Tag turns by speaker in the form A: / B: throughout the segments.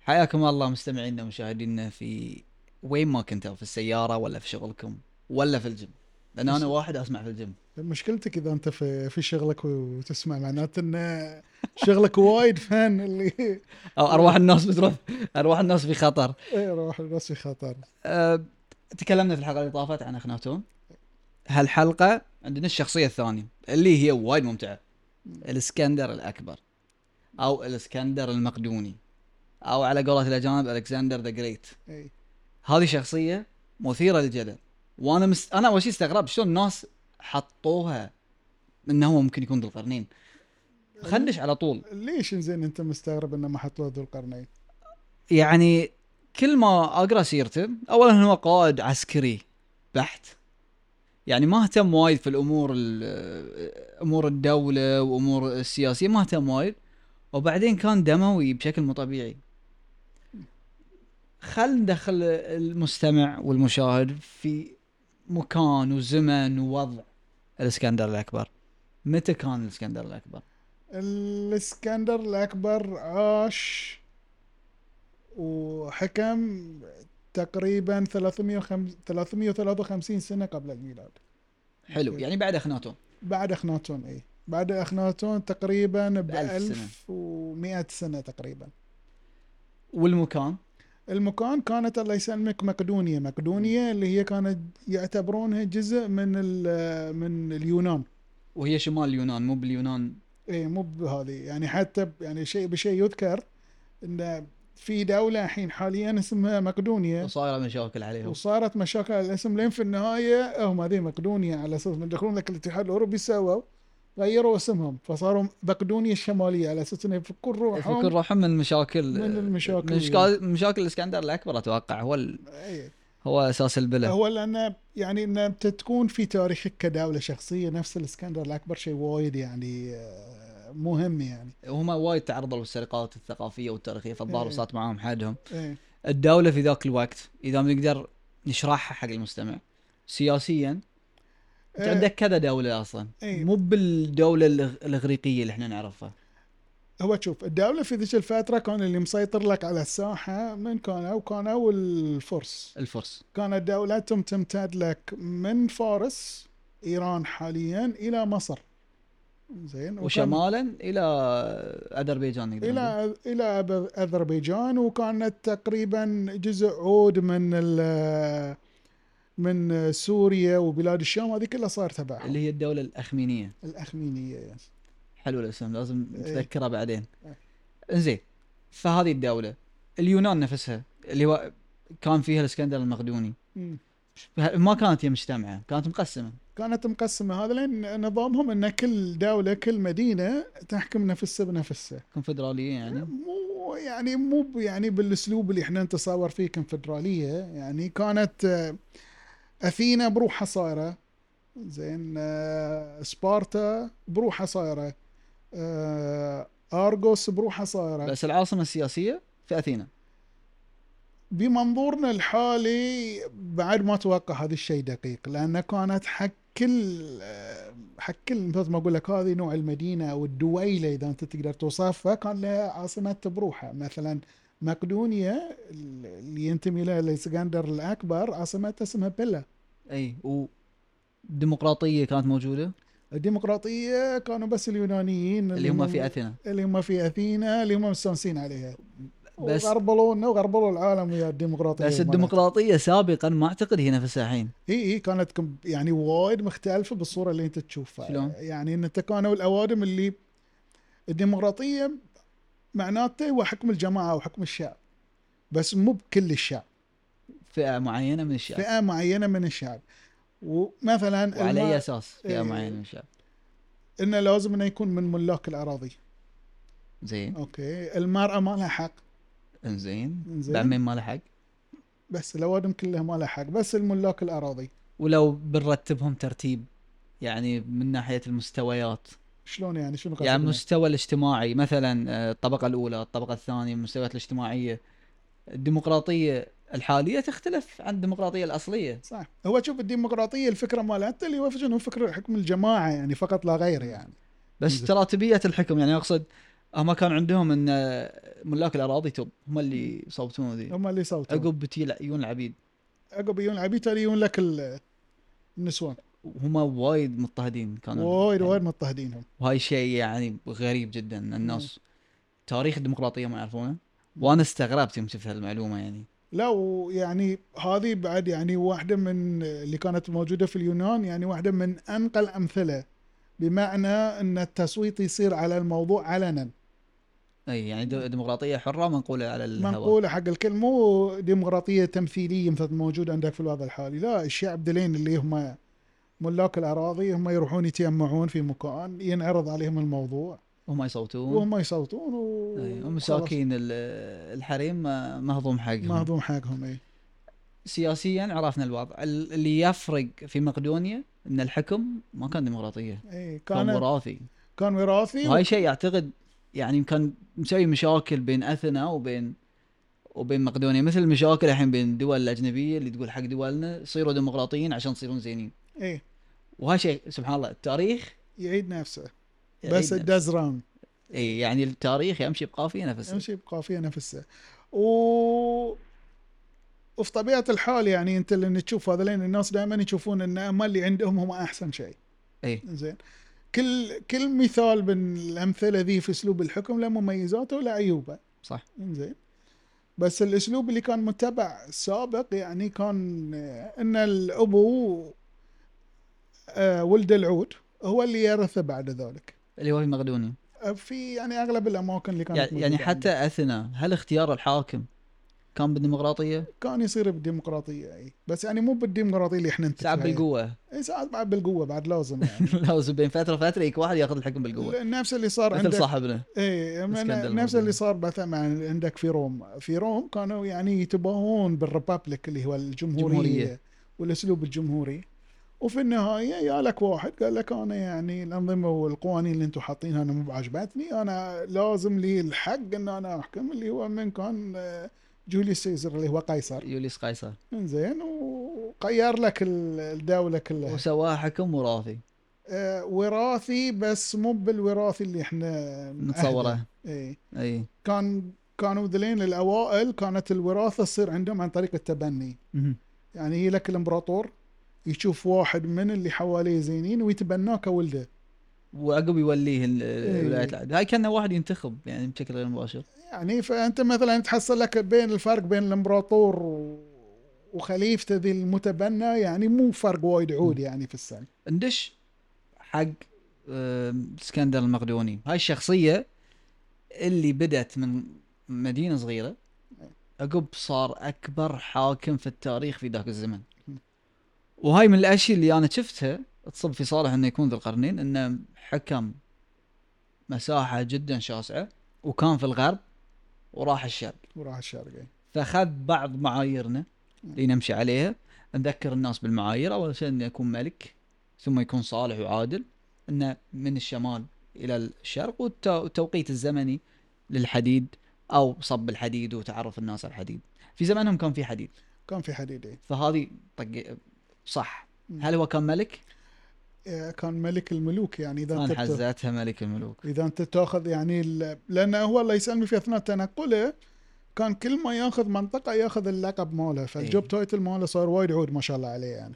A: حياكم الله مستمعينا ومشاهدينا في وين ما كنتوا في السياره ولا في شغلكم ولا في الجيم لان انا واحد اسمع في الجيم
B: مشكلتك اذا انت في, في شغلك وتسمع معناته ان شغلك وايد فن اللي
A: او ارواح الناس بتروح ارواح الناس في خطر
B: إيه، روح الناس في خطر
A: أه، تكلمنا في الحلقه اللي طافت عن اخناتون هالحلقه عندنا الشخصيه الثانيه اللي هي وايد ممتعه الاسكندر الاكبر او الاسكندر المقدوني او على قولة الاجانب الكسندر ذا جريت
B: إيه.
A: هذه شخصيه مثيره للجدل وانا مست... انا اول شيء استغربت شلون الناس حطوها انه هو ممكن يكون ذو القرنين خندش على طول
B: ليش زين انت مستغرب انه ما حط له ذو القرنين؟
A: يعني كل ما اقرا سيرته اولا هو قائد عسكري بحت يعني ما اهتم وايد في الامور ال- امور الدوله وامور السياسيه ما اهتم وايد وبعدين كان دموي بشكل مو طبيعي خل ندخل المستمع والمشاهد في مكان وزمن ووضع الاسكندر الاكبر متى كان الاسكندر الاكبر
B: الاسكندر الاكبر عاش وحكم تقريبا 305 353 سنه قبل الميلاد
A: حلو
B: أوكي.
A: يعني بعد اخناتون
B: بعد اخناتون اي بعد اخناتون تقريبا ب
A: بألف سنة.
B: 1100 سنه تقريبا
A: والمكان
B: المكان كانت الله يسلمك مقدونية مقدونية اللي هي كانت يعتبرونها جزء من ال- من اليونان
A: وهي شمال اليونان مو باليونان
B: اي مو بهذه يعني حتى ب- يعني شيء بشيء يذكر ان في دولة الحين حاليا اسمها مقدونيا
A: وصايره مشاكل عليهم
B: وصارت مشاكل على الاسم لين في النهاية هم هذه مقدونيا على اساس من يدخلون لك الاتحاد الاوروبي سووا غيروا اسمهم فصاروا مقدونيا الشمالية على اساس انه يفكون
A: يفكون
B: روحهم
A: روحهم من المشاكل
B: من المشاكل.
A: من مشكا- مشاكل الاسكندر الاكبر اتوقع هو ال...
B: إي.
A: هو اساس البله
B: هو لان يعني ان انت تكون في تاريخك كدوله شخصيه نفس الاسكندر الاكبر شيء وايد يعني آه، مهم يعني
A: وهم وايد تعرضوا للسرقات الثقافيه والتاريخيه فالظاهر
B: إيه.
A: وصلت معاهم حدهم
B: إيه.
A: الدوله في ذاك الوقت اذا بنقدر نشرحها حق المستمع سياسيا انت
B: إيه.
A: عندك كذا دوله اصلا
B: إيه.
A: مو بالدوله الإغ- الاغريقيه اللي احنا نعرفها
B: هو تشوف الدوله في ذيك الفتره كان اللي مسيطر لك على الساحه من كانوا كانوا الفرس
A: الفرس
B: كانت دولتهم تمتد لك من فارس ايران حاليا الى مصر زين وكان-
A: وشمالا الى اذربيجان نقدر نقول.
B: الى الى أب- اذربيجان وكانت تقريبا جزء عود من ال- من سوريا وبلاد الشام هذه كلها صار تبعهم
A: اللي هي الدوله الاخمينيه
B: الاخمينيه يعني.
A: حلو الاسم لازم
B: إيه.
A: نتذكره بعدين
B: إيه.
A: انزين فهذه الدولة اليونان نفسها اللي هو كان فيها الاسكندر المقدوني
B: مم.
A: ما كانت هي مجتمعة كانت مقسمة
B: كانت مقسمه هذا لان نظامهم ان كل دوله كل مدينه تحكم نفسها بنفسها
A: كونفدرالية يعني
B: إيه. مو يعني مو ب- يعني بالاسلوب اللي احنا نتصور فيه كونفدراليه يعني كانت آه، اثينا بروحها صايره زين آه، سبارتا بروحها صايره آه، ارغوس بروحها صايره
A: بس العاصمة السياسية في اثينا
B: بمنظورنا الحالي بعد ما اتوقع هذا الشيء دقيق لانه كانت حق كل آه، حق كل مثل ما اقول لك هذه نوع المدينه او الدويله اذا انت تقدر توصفها كان لها عاصمه بروحها مثلا مقدونيا اللي ينتمي لها الاسكندر الاكبر عاصمتها اسمها بيلا
A: اي وديمقراطية كانت موجودة
B: الديمقراطيه كانوا بس اليونانيين
A: اللي هم في اثينا
B: اللي هم في اثينا اللي هم مستانسين عليها
A: بس-
B: بس وغربلونا وغربلوا العالم ويا الديمقراطيه
A: بس
B: مالتهم.
A: الديمقراطية سابقا ما اعتقد هي نفسها الحين
B: اي اي كانت كم- يعني وايد مختلفه بالصوره اللي انت تشوفها
A: شلون؟
B: يعني ان انت كانوا الاوادم اللي الديمقراطيه معناته هو حكم الجماعه او حكم الشعب بس مو بكل الشعب
A: فئة معينة من الشعب
B: فئه معينه من الشعب ومثلا
A: وعلى اي
B: الم-
A: اساس فئة
B: إيه.
A: معينة من الشعب
B: انه لازم انه يكون من ملاك الاراضي إيه.
A: زين
B: اوكي المراه ما لها حق
A: انزين
B: إنزين.
A: بعد مين ما له حق
B: بس الاوادم كلها ما لها حق بس الملاك الاراضي
A: ولو بنرتبهم ترتيب يعني من ناحيه المستويات
B: شلون يعني شنو
A: يعني
B: قصدك؟
A: المستوى الاجتماعي مثلا آه، الطبقه الاولى الطبقه الثانيه المستويات الاجتماعيه الديمقراطيه الحاليه تختلف عن الديمقراطيه الاصليه
B: صح هو شوف الديمقراطيه الفكره مالتها اللي هو فجأة هو فكره حكم الجماعه يعني فقط لا غير يعني
A: بس
B: مم.
A: تراتبيه الحكم يعني اقصد هم كان عندهم ان آه، ملاك الاراضي تب هم اللي
B: نعم.
A: يصوتون ذي
B: هم اللي صوتوا عقب
A: عقب بتي عيون العبيد
B: عقب يجون العبيد تالي يجون لك ال- النسوان
A: وهم وايد مضطهدين كانوا
B: وايد
A: يعني
B: وايد مضطهدينهم
A: وهاي شيء يعني غريب جدا إن الناس تاريخ الديمقراطيه ما يعرفونه وانا استغربت يوم شفت هالمعلومه يعني
B: لا ويعني هذه بعد يعني واحدة من اللي كانت موجودة في اليونان يعني واحدة من أنقى الأمثلة بمعنى أن التصويت يصير على الموضوع علنا
A: اي يعني دو- ديمقراطيه حره منقوله على الهواء
B: منقولة حق الكل مو ديمقراطية تمثيلية مثل موجود عندك في الوضع الحالي لا الشعب دلين اللي هم ملاك الأراضي هم يروحون يتجمعون في مكان ينعرض عليهم الموضوع
A: وهم يصوتون
B: وهم يصوتون و
A: أي، ومساكين ال- الحريم ما- مهضوم حقهم
B: مهضوم حقهم اي
A: سياسيا عرفنا الوضع ال- اللي يفرق في مقدونيا ان الحكم ما كان ديمقراطيه
B: اي
A: كان
B: إيه، كان
A: وراثي
B: كان وراثي
A: وهاي شيء اعتقد يعني كان مسوي مشاكل بين اثينا وبين وبين مقدونيا مثل المشاكل الحين بين الدول الاجنبيه اللي تقول حق دولنا صيروا ديمقراطيين عشان تصيرون زينين
B: اي
A: وهاي شيء سبحان الله التاريخ
B: إيه، يعيد نفسه
A: يعيد
B: بس
A: نفسه.
B: الدز راوند
A: اي يعني التاريخ يمشي بقافيه نفسه
B: امشي بقافيه نفسها و وفي طبيعه الحال يعني انت لان تشوف هذولين الناس دائما يشوفون ان اما اللي عندهم هم احسن شيء
A: اي
B: زين كل كل مثال من الامثله ذي في اسلوب الحكم له مميزاته وله عيوبه
A: صح
B: زين بس الاسلوب اللي كان متبع سابق يعني كان آه، ان الابو آه، ولد العود هو اللي يرثه بعد ذلك
A: اللي هو في مقدونيا
B: آه، في يعني اغلب الاماكن اللي كانت
A: يعني, يعني
B: موجودة عندنا.
A: حتى اثينا هل اختيار الحاكم كان بالديمقراطيه؟
B: كان يصير بالديمقراطيه اي بس يعني مو بالديمقراطيه اللي احنا
A: ساعات بالقوه
B: اي ساعات بعد بالقوه بعد لازم يعني
A: لازم بين فتره وفتره يك واحد ياخذ الحكم بالقوه
B: لأن نفس اللي صار
A: مثل
B: عندك
A: صاحبنا
B: اي من-
A: اسكندر
B: إيه، نفس
A: المقدوني.
B: اللي صار مثلا عندك في روم في روم كانوا يعني يتباهون بالريبابليك اللي هو
A: الجمهورية.
B: الجمهوريه والاسلوب الجمهوري وفي النهايه يا لك واحد قال لك انا يعني الانظمه والقوانين اللي انتم حاطينها انا مو بعجبتني انا لازم لي الحق ان انا احكم اللي هو من كان آه، جوليوس سيزر اللي هو قيصر
A: يوليوس قيصر
B: انزين وغير لك ال- الدولة كلها
A: وسواه حكم وراثي
B: آه وراثي بس مو بالوراثي اللي إيه. احنا
A: نتصوره
B: اي
A: اي
B: كان كانوا ذلين الاوائل كانت الوراثة تصير عندهم عن طريق التبني
A: مهم.
B: يعني هي لك الامبراطور يشوف واحد من اللي حواليه زينين ويتبناه كولده
A: وعقب يوليه ال-
B: إيه.
A: ولايه العدل هاي كان واحد ينتخب يعني بشكل غير مباشر
B: يعني فانت مثلا تحصل لك بين الفرق بين الامبراطور و- وخليفته ذي المتبنى يعني مو فرق وايد عود يعني في السن
A: ندش حق آم، اسكندر المقدوني هاي الشخصيه اللي بدت من مدينه صغيره عقب صار اكبر حاكم في التاريخ في ذاك الزمن وهاي من الاشياء اللي انا شفتها تصب في صالح انه يكون ذو القرنين انه حكم مساحه جدا شاسعه وكان في الغرب وراح الشرق
B: وراح الشرقي
A: فاخذ بعض معاييرنا اللي نمشي عليها نذكر الناس بالمعايير اول شيء انه يكون ملك ثم يكون صالح وعادل انه من الشمال الى الشرق والت- والتوقيت الزمني للحديد او صب الحديد وتعرف الناس على الحديد في زمانهم كان في حديد
B: كان في حديد إيه.
A: فهذه طق صح
B: مم.
A: هل هو كان ملك؟
B: آه، كان ملك الملوك يعني اذا
A: كان
B: انت بت-
A: حزتها ملك الملوك
B: اذا انت تاخذ يعني ال- لانه هو الله يسلمه في اثناء تنقله كان كل ما ياخذ منطقه ياخذ اللقب ماله فالجوب
A: إيه.
B: تايتل ماله صار وايد عود ما شاء الله عليه يعني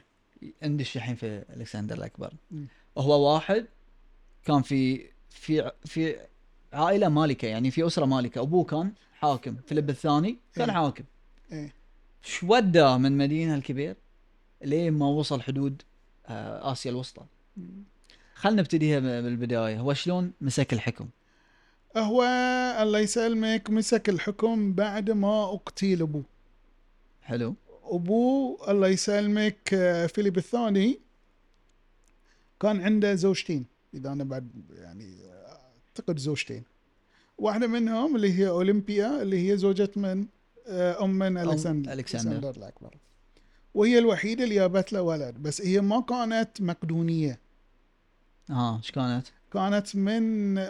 A: ندش الحين في الكسندر الاكبر
B: مم.
A: هو واحد كان في في في عائله مالكه يعني في اسره مالكه ابوه كان حاكم فيليب الثاني كان
B: إيه.
A: حاكم
B: إيه.
A: شو وداه من مدينه الكبير لين ما وصل حدود آه، اسيا الوسطى خلنا نبتديها من البدايه هو شلون مسك الحكم
B: هو الله يسلمك مسك الحكم بعد ما اقتيل ابوه
A: حلو
B: ابوه الله يسلمك آه، فيليب الثاني كان عنده زوجتين اذا انا بعد يعني آه، اعتقد زوجتين واحده منهم اللي هي اولمبيا اللي هي زوجة من آه، ام من الكسندر
A: ألكسندر.
B: الكسندر الاكبر وهي الوحيده اللي جابت له ولد بس هي ما كانت مقدونيه
A: اه ايش كانت
B: كانت من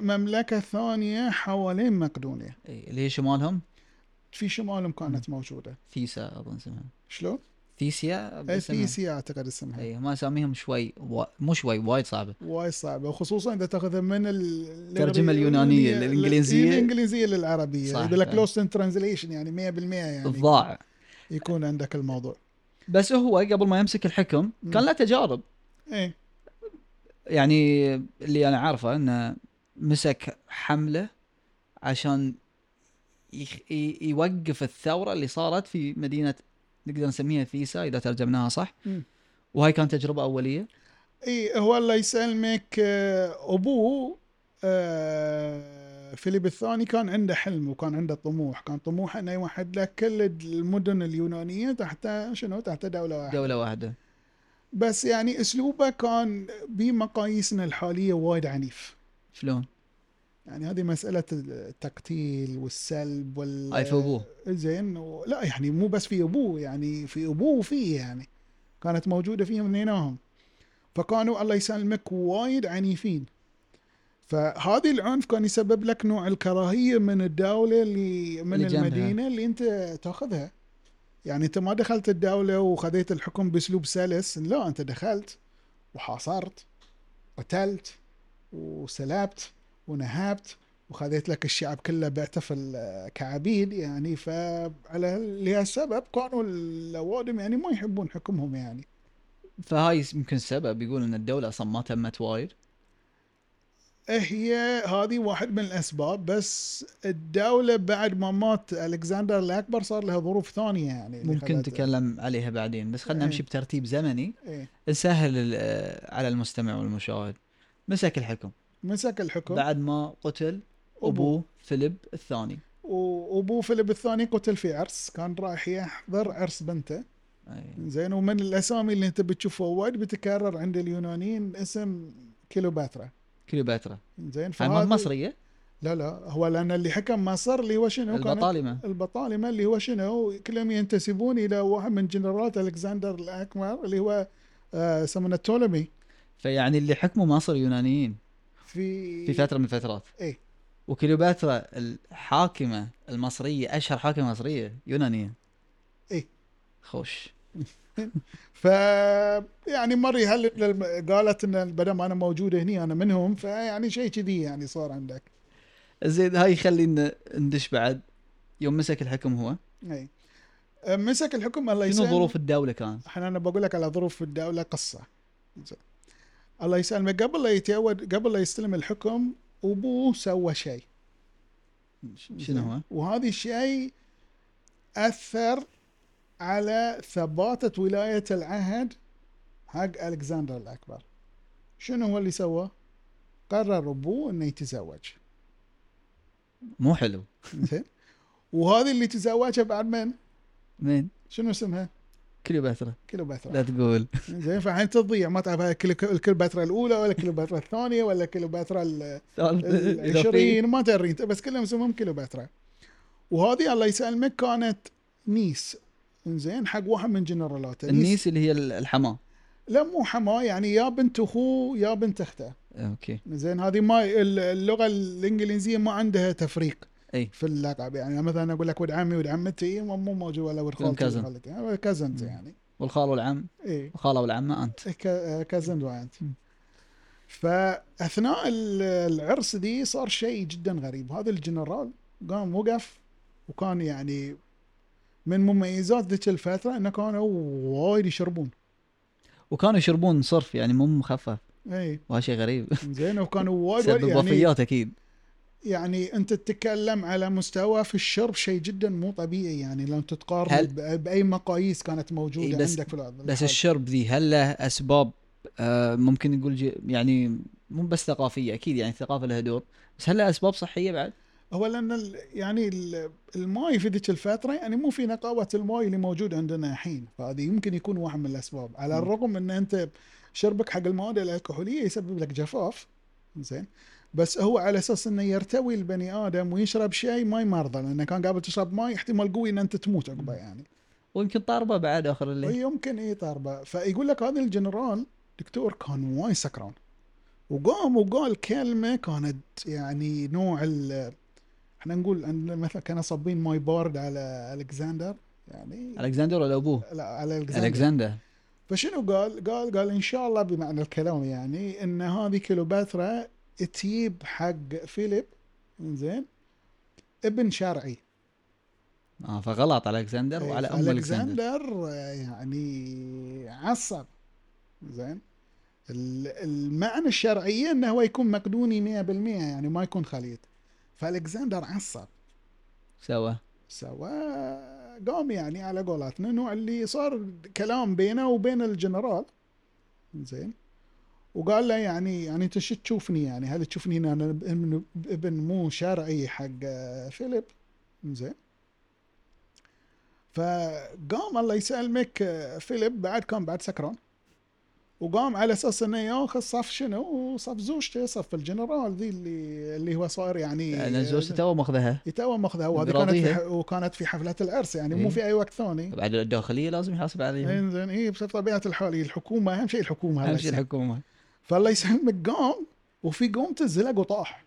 B: مملكه ثانيه حوالين مقدونيا
A: إيه، اللي هي شمالهم
B: في شمالهم كانت موجوده
A: ثيسا اظن اسمها
B: شلون؟ إيه،
A: ثيسيا باسمها.
B: اثيسيا اعتقد اسمها
A: اي ما اساميهم شوي و... مو شوي وايد صعبه
B: وايد صعبه وخصوصا اذا تاخذها من ال- إيه،
A: الترجمة اليونانية
B: لل-
A: للإنجليزية.
B: الانجليزيه للعربيه
A: صح، آه.
B: يقول لك
A: فعلا.
B: لوست ان ترانزليشن يعني 100% يعني
A: الضاع
B: يكون عندك الموضوع
A: بس هو قبل ما يمسك الحكم كان له تجارب
B: ايه
A: يعني اللي انا عارفه انه مسك حمله عشان يخ- ي- يوقف الثوره اللي صارت في مدينه نقدر نسميها فيسا اذا ترجمناها صح
B: مم.
A: وهاي كانت تجربه اوليه
B: اي إيه، هو الله يسلمك آه، ابوه آه، فيليب الثاني كان عنده حلم وكان عنده طموح كان طموحه انه يوحد لك كل المدن اليونانيه تحت شنو تحت دوله واحده
A: دوله واحده
B: بس يعني اسلوبه كان بمقاييسنا الحاليه وايد عنيف
A: شلون؟
B: يعني هذه مساله التقتيل والسلب وال
A: هاي في ابوه
B: زين و... لا يعني مو بس في ابوه يعني في ابوه وفيه يعني كانت موجوده فيهم اثنينهم فكانوا الله يسلمك وايد عنيفين فهذه العنف كان يسبب لك نوع الكراهيه من الدوله اللي من
A: اللي جنبها.
B: المدينه اللي انت تاخذها يعني انت ما دخلت الدوله وخذيت الحكم باسلوب سلس لا انت دخلت وحاصرت قتلت وسلبت ونهبت وخذيت لك الشعب كله بعته في ال- كعبيد يعني فعلى لهالسبب كانوا الاوادم يعني ما يحبون حكمهم يعني
A: فهاي يمكن سبب يقول ان الدوله اصلا ما تمت وايد
B: إيه هي هذه واحد من الاسباب بس الدوله بعد ما مات الكسندر الاكبر صار لها ظروف ثانيه يعني اللي
A: ممكن
B: خلت-
A: نتكلم عليها بعدين بس خلينا
B: إيه.
A: نمشي بترتيب زمني
B: إيه
A: نسهل ال- على المستمع والمشاهد مسك الحكم
B: مسك الحكم
A: بعد ما قتل
B: أبوه.
A: ابوه فيليب الثاني
B: وابوه فيليب الثاني قتل في عرس كان رايح يحضر عرس بنته
A: أي.
B: زين ومن الاسامي اللي انت بتشوفها وايد بتكرر عند اليونانيين اسم كيلوباترا
A: كليوباترا
B: زين
A: هاي مو
B: فهذه
A: مصريه
B: لا لا هو لان اللي حكم مصر اللي هو شنو كانت-
A: البطالمه
B: البطالمه اللي هو شنو كلهم ينتسبون الى واحد من جنرالات الكسندر الاكبر اللي هو آه، يسمونه تولمي
A: فيعني اللي حكموا مصر يونانيين
B: في
A: في فتره من الفترات
B: إيه.
A: وكليوباترا الحاكمه المصريه اشهر حاكمه مصريه يونانيه
B: إيه.
A: خوش
B: ف يعني مره يهلل للم- قالت ان بدل انا موجوده هني انا منهم فيعني شيء كذي يعني صار عندك
A: زين هاي خلينا ندش بعد يوم مسك الحكم هو
B: اي آه، مسك الحكم الله
A: شنو
B: يسلمك
A: ظروف الدوله كانت؟
B: الحين انا بقول لك على ظروف الدوله قصه زين. الله يسلمك قبل لا يتعود قبل لا يستلم الحكم ابوه سوى شيء
A: شنو هو؟
B: وهذا الشيء اثر على ثباته ولايه العهد حق الكسندر الاكبر شنو هو اللي سواه؟ قرر ابوه انه يتزوج
A: مو حلو
B: زين وهذه اللي تزوجها بعد من؟
A: مين؟
B: شنو اسمها؟
A: كليوباترا لا
B: كليوباترا
A: تقول
B: زين فالحين تضيع ما تعرف هاي الكلي- الكليوباترا الاولى ولا الكليوباترا الثانيه ولا الكليوباترا ال-
A: إذا في-
B: العشرين ما تدري انت بس كلهم اسمهم كيلوباترا وهذه الله يسلمك كانت نيس انزين حق واحد من جنرالاته
A: النيس اللي هي ال- الحماه
B: لا مو حماه يعني يا بنت اخوه يا بنت اخته
A: اوكي
B: زين هذه ما ال- اللغه الانجليزيه ما عندها تفريق
A: اي
B: في اللقب يعني مثلا اقول لك ولد عمي ولد عمتي مو مو موجود ولا ولد
A: كلهم
B: خالتي
A: cousin.
B: ولد خالتي كازنز يعني إيه.
A: والخال والعم
B: اي
A: الخاله والعمه انت
B: كازن واينت
A: مم.
B: فاثناء ال- العرس دي صار شيء جدا غريب هذا الجنرال قام وقف وكان يعني من مميزات ذيك الفتره انه كانوا وايد يشربون
A: وكانوا يشربون صرف يعني مو مخفف
B: اي
A: وهذا شيء غريب
B: إيه. زين وكانوا وايد
A: سبب
B: وايد يعني
A: وفيات اكيد
B: يعني انت تتكلم على مستوى في الشرب شيء جدا مو طبيعي يعني لو انت تقارن
A: هل-
B: ب- باي مقاييس كانت موجوده
A: إي بس-
B: عندك في الارض
A: بس الشرب ذي هل له اسباب آه ممكن نقول جي يعني مو بس ثقافيه اكيد يعني الثقافه لها دور بس هل له اسباب صحيه بعد؟
B: هو لان ال- يعني ال- الماي في ذيك الفتره يعني مو في نقاوه الماي اللي موجود عندنا الحين فهذه يمكن يكون واحد من الاسباب على
A: مم.
B: الرغم ان انت شربك حق المواد الالكحوليه يسبب لك جفاف زين بس هو على اساس انه يرتوي البني ادم ويشرب شيء ما يمرضه لانه كان قبل تشرب ماي احتمال قوي ان انت تموت عقبه يعني
A: ويمكن طاربه بعد اخر الليل
B: يمكن اي طربه إيه فيقول لك هذا الجنرال دكتور كان وايد سكران وقام وقال كلمه كانت يعني نوع ال احنا نقول أن مثلا كانوا صابين ماي بارد على الكسندر يعني
A: الكسندر ولا ابوه؟
B: لا الكسندر
A: الكسندر
B: فشنو قال؟ قال قال ان شاء الله بمعنى الكلام يعني ان هذه كليوباترا تجيب حق فيليب زين ابن شرعي
A: اه فغلط على الكسندر
B: طيب،
A: وعلى ام الكسندر
B: الكسندر يعني عصب زين ال- المعنى الشرعية انه هو يكون مقدوني 100% يعني ما يكون خليط فالكسندر عصب
A: سوا
B: سوا قام يعني على قولتنا نوع اللي صار كلام بينه وبين الجنرال زين وقال له يعني يعني انت شو تشوفني يعني هل تشوفني ان انا ابن ابن مو شرعي حق فيليب زين فقام الله يسلمك فيليب بعد كان بعد سكران وقام على اساس انه ياخذ صف شنو صف زوجته صف الجنرال ذي اللي اللي هو صار يعني
A: لان زوجته تو ماخذها
B: يتوه ماخذها وهذه كانت
A: براضيها.
B: في ح- وكانت في حفلة العرس يعني
A: إيه.
B: مو في اي وقت ثاني إيه،
A: بعد الداخليه لازم يحاسب عليهم
B: انزين اي بطبيعه الحال هي الحكومه اهم شيء الحكومه
A: اهم شيء
B: الحكومه
A: الحكومه
B: فالله يسلمك قام وفي قومته زلق وطاح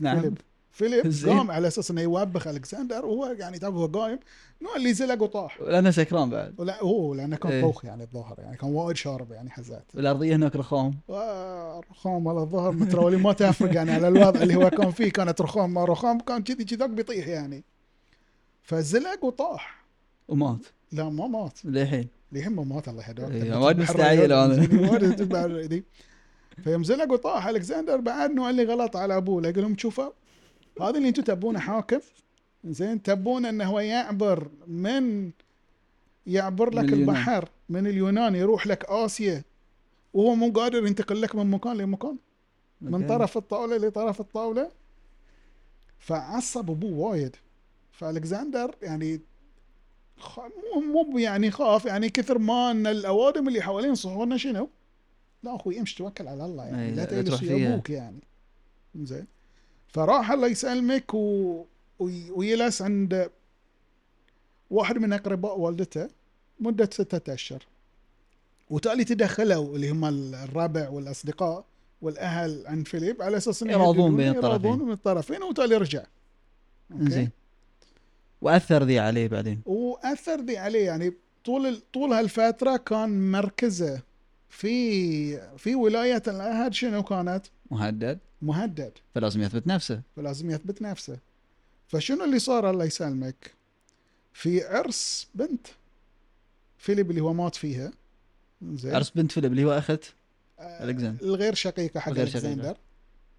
A: نعم
B: فيليب فيليب
A: زين.
B: قام على اساس انه يوبخ الكسندر وهو يعني تعرف هو قايم نوع اللي زلق وطاح
A: لانه سكران بعد
B: ولا هو لانه كان
A: إيه.
B: طوخ يعني الظاهر يعني كان وايد شارب يعني حزات
A: والارضيه هناك رخام
B: رخام على الظهر مترولين ما تفرق يعني على الوضع اللي هو كان فيه كانت رخام ما رخام كان كذي كذاك بيطيح يعني فزلق وطاح
A: ومات
B: لا ما مات
A: للحين
B: لهم ما مات الله يهداك
A: إيه، وايد مستعجل أنا.
B: وايد فيوم زلق وطاح الكسندر بعد نوع اللي غلط على ابوه لا، يقول لهم شوفوا هذا اللي انتم تبونه حاكم زين تبونه انه هو يعبر من يعبر
A: من
B: لك
A: اليونان.
B: البحر من اليونان يروح لك اسيا وهو مو قادر ينتقل لك من مكان لمكان من
A: أوكي.
B: طرف الطاوله لطرف الطاوله فعصب ابوه وايد فالكسندر يعني خ... مو مو يعني خاف يعني كثر ما ان الاوادم اللي حوالين صحونا شنو؟ لا اخوي امشي توكل على الله يعني
A: أي،
B: لا
A: إيه، لا
B: تجلس
A: تروح
B: ويا
A: فيها.
B: ابوك يعني زين فراح الله يسلمك و... وي... ويلس عند واحد من اقرباء والدته مده ستة اشهر وتالي تدخلوا اللي هم الربع والاصدقاء والاهل عن فيليب على اساس إنه
A: يراضون
B: يهددونه،
A: بين
B: يراضون
A: الطرفين.
B: من الطرفين وتالي رجع أوكي.
A: انزين واثر ذي عليه بعدين
B: واثر ذي عليه يعني طول ال- طول هالفتره كان مركزه في في ولايه الاهد شنو كانت؟
A: مهدد
B: مهدد
A: فلازم يثبت نفسه
B: فلازم يثبت نفسه فشنو اللي صار الله يسلمك؟ في عرس بنت فيليب اللي هو مات فيها زين
A: عرس بنت فيليب اللي هو اخت
B: إيه. آه،
A: ألكسندر.
B: الغير شقيقه حق
A: الغير شقيقة.
B: الكسندر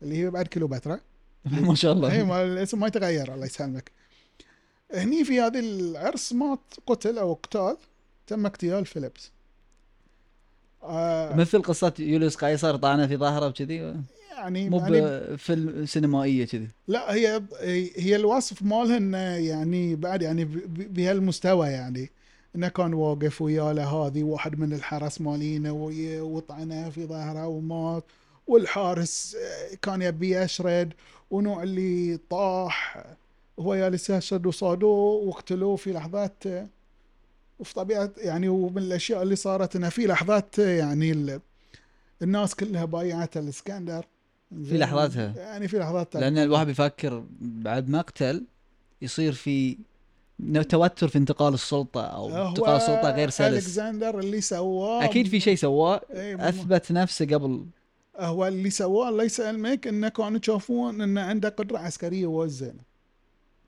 B: اللي هي بعد كليوباترا
A: ما شاء
B: اي
A: الله
B: إيه، ما الاسم ما يتغير الله يسلمك هني في هذه العرس مات قتل او اقتال تم اغتيال فيليبس آه
A: مثل قصه يوليوس قيصر طعنه في ظهره وكذي
B: يعني,
A: مو
B: يعني
A: بفيلم سينمائيه كذي
B: لا هي هي الوصف مالها انه يعني بعد يعني ب- ب- بهالمستوى يعني انه كان واقف ويا له هذه واحد من الحرس مالينا وي- وطعنه في ظهره ومات والحارس آه، كان يبي يشرد ونوع اللي طاح هو جالس يشرد وصادوه وقتلوه في لحظات آه، وفي طبيعه يعني ومن الاشياء اللي صارت انه في لحظات آه، يعني ال- الناس كلها بايعت الاسكندر
A: في لحظاتها.
B: يعني في لحظات
A: لان الواحد يفكر بعد مقتل يصير في ن- توتر في انتقال السلطه او
B: هو
A: انتقال السلطه غير سلس
B: الكسندر اللي سواه
A: اكيد في شيء سواه
B: إي، مم-
A: اثبت نفسه قبل
B: هو اللي سواه الله يسلمك انه كانوا تشوفون انه عنده قدره عسكريه وايد زينه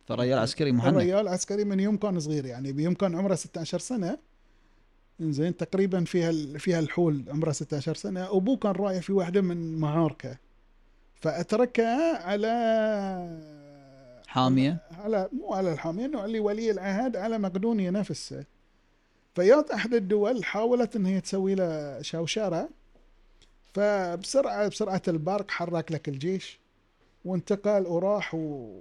A: فالرجال عسكري محنك
B: الرجال عسكري من يوم كان صغير يعني بيوم كان عمره 16 سنه زين تقريبا فيها فيها الحول عمره 16 سنه ابوه كان رايح في واحده من معاركه فاتركه على
A: حاميه
B: على مو على الحامية انه اللي ولي العهد على مقدونيا نفسه فيات احد الدول حاولت ان هي تسوي له شوشره فبسرعه بسرعه البرق حرك لك الجيش وانتقل وراح و...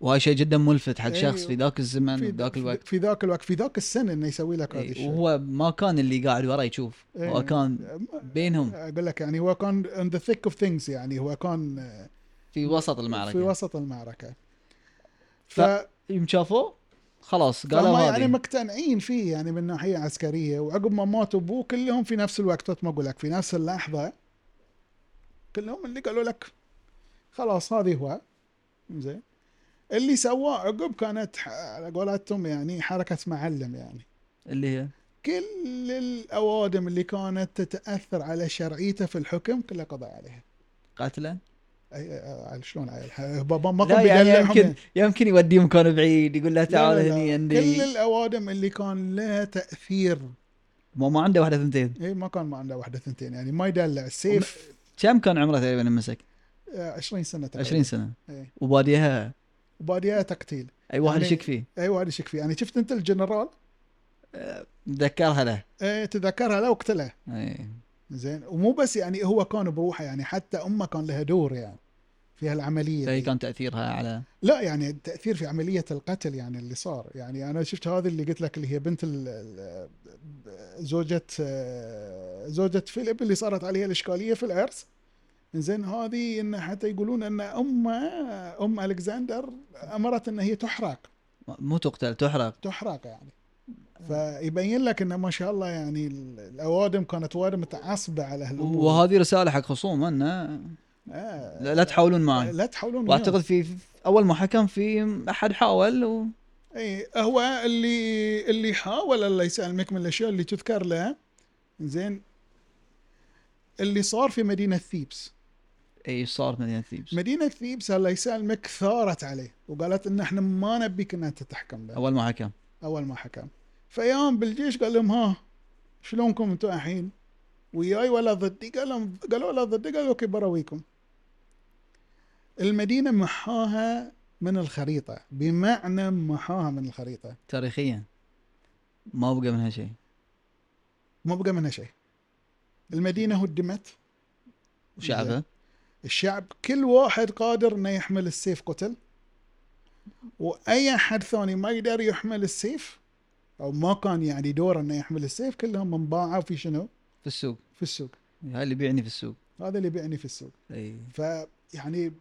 A: وهاي شيء جدا ملفت حق
B: إي،
A: شخص في ذاك الزمن وذاك الوقت
B: إيه، في ذاك الوقت في ذاك السن انه يسوي لك هذا
A: إي،
B: الشيء
A: إيه،
B: إيه. يعني
A: وهو ما كان اللي قاعد وراه يشوف
B: إي.
A: هو كان بينهم
B: اقول لك يعني هو كان ان ذا ثيك اوف ثينجز يعني هو كان
A: في وسط
B: في
A: المعركه
B: وسط المعركه ف...
A: ف- يوم شافوه خلاص قالوا
B: فهم
A: هذه
B: يعني مقتنعين فيه يعني من ناحيه عسكريه وعقب ما مات ابوه كلهم في نفس الوقت مثل ما اقول لك في نفس اللحظه كلهم اللي قالوا لك خلاص هذه هو زين اللي سواه عقب كانت ح- على قولتهم يعني حركه معلم يعني
A: اللي هي
B: كل الاوادم اللي كانت تتاثر على شرعيته في الحكم كلها قضى عليها
A: قاتله
B: أي- آه، على شلون عليها ما ما
A: لا
B: كان
A: يعني
B: بيدلعهم
A: يمكن يمكن يوديه مكان بعيد يقول له
B: لا، لا،
A: تعال
B: لا.
A: هني
B: كل
A: عندي
B: الاوادم اللي كان لها تاثير
A: ما ما عنده واحده ثنتين
B: اي إيه، ما كان ما عنده واحده ثنتين يعني ما يدلع السيف
A: كم كان عمره تقريبا مسك؟
B: آه، 20 سنه تقريبا
A: 20 سنه
B: إيه.
A: وباديها
B: وبعدها تقتيل
A: اي واحد
B: يعني-
A: يشك فيه
B: اي واحد يشك فيه يعني شفت انت الجنرال
A: ذكرها له إيه.
B: آه، تذكرها لا وقتله
A: اي
B: زين ومو بس يعني هو كان بروحه يعني حتى امه كان لها دور يعني في هالعمليه
A: فهي
B: دي.
A: كان تاثيرها على
B: لا يعني التاثير في عمليه القتل يعني اللي صار يعني انا شفت هذه اللي قلت لك اللي هي بنت ال- ال- زوجة آه، زوجة فيليب اللي صارت عليها الاشكاليه في العرس زين هذه ان حتى يقولون ان امه ام الكسندر امرت ان هي تحرق
A: مو تقتل تحرق
B: تحرق يعني فيبين لك ان ما شاء الله يعني ال- الاوادم كانت وايد متعصبه على هالامور
A: وهذه رساله حق خصوم انه
B: آه،
A: لا, لا تحاولون معي
B: لا تحاولون
A: واعتقد في في اول ما حكم في احد حاول و...
B: اي هو اللي اللي حاول الله يسلمك من الاشياء اللي تذكر لها زين اللي صار في مدينه ثيبس
A: اي إيه، صار في مدينه ثيبس
B: مدينه ثيبس الله يسلمك ثارت عليه وقالت ان احنا ما نبيك ان انت تحكم بها
A: اول ما حكم
B: اول ما حكم فيام بالجيش قال لهم ها شلونكم انتم الحين وياي ولا ضدي قال لهم قالوا لا ضدي قالوا اوكي براويكم المدينه محاها من الخريطه بمعنى محاها من الخريطه
A: تاريخيا ما بقى منها شيء
B: ما بقى منها شيء المدينة هدمت
A: وشعبه
B: الشعب كل واحد قادر انه يحمل السيف قتل واي احد ثاني ما يقدر يحمل السيف او ما كان يعني دوره انه يحمل السيف كلهم انباعوا في شنو؟
A: في السوق
B: في السوق
A: هاي اللي بيعني في السوق
B: هذا اللي بيعني في السوق
A: اي
B: إيه. فيعني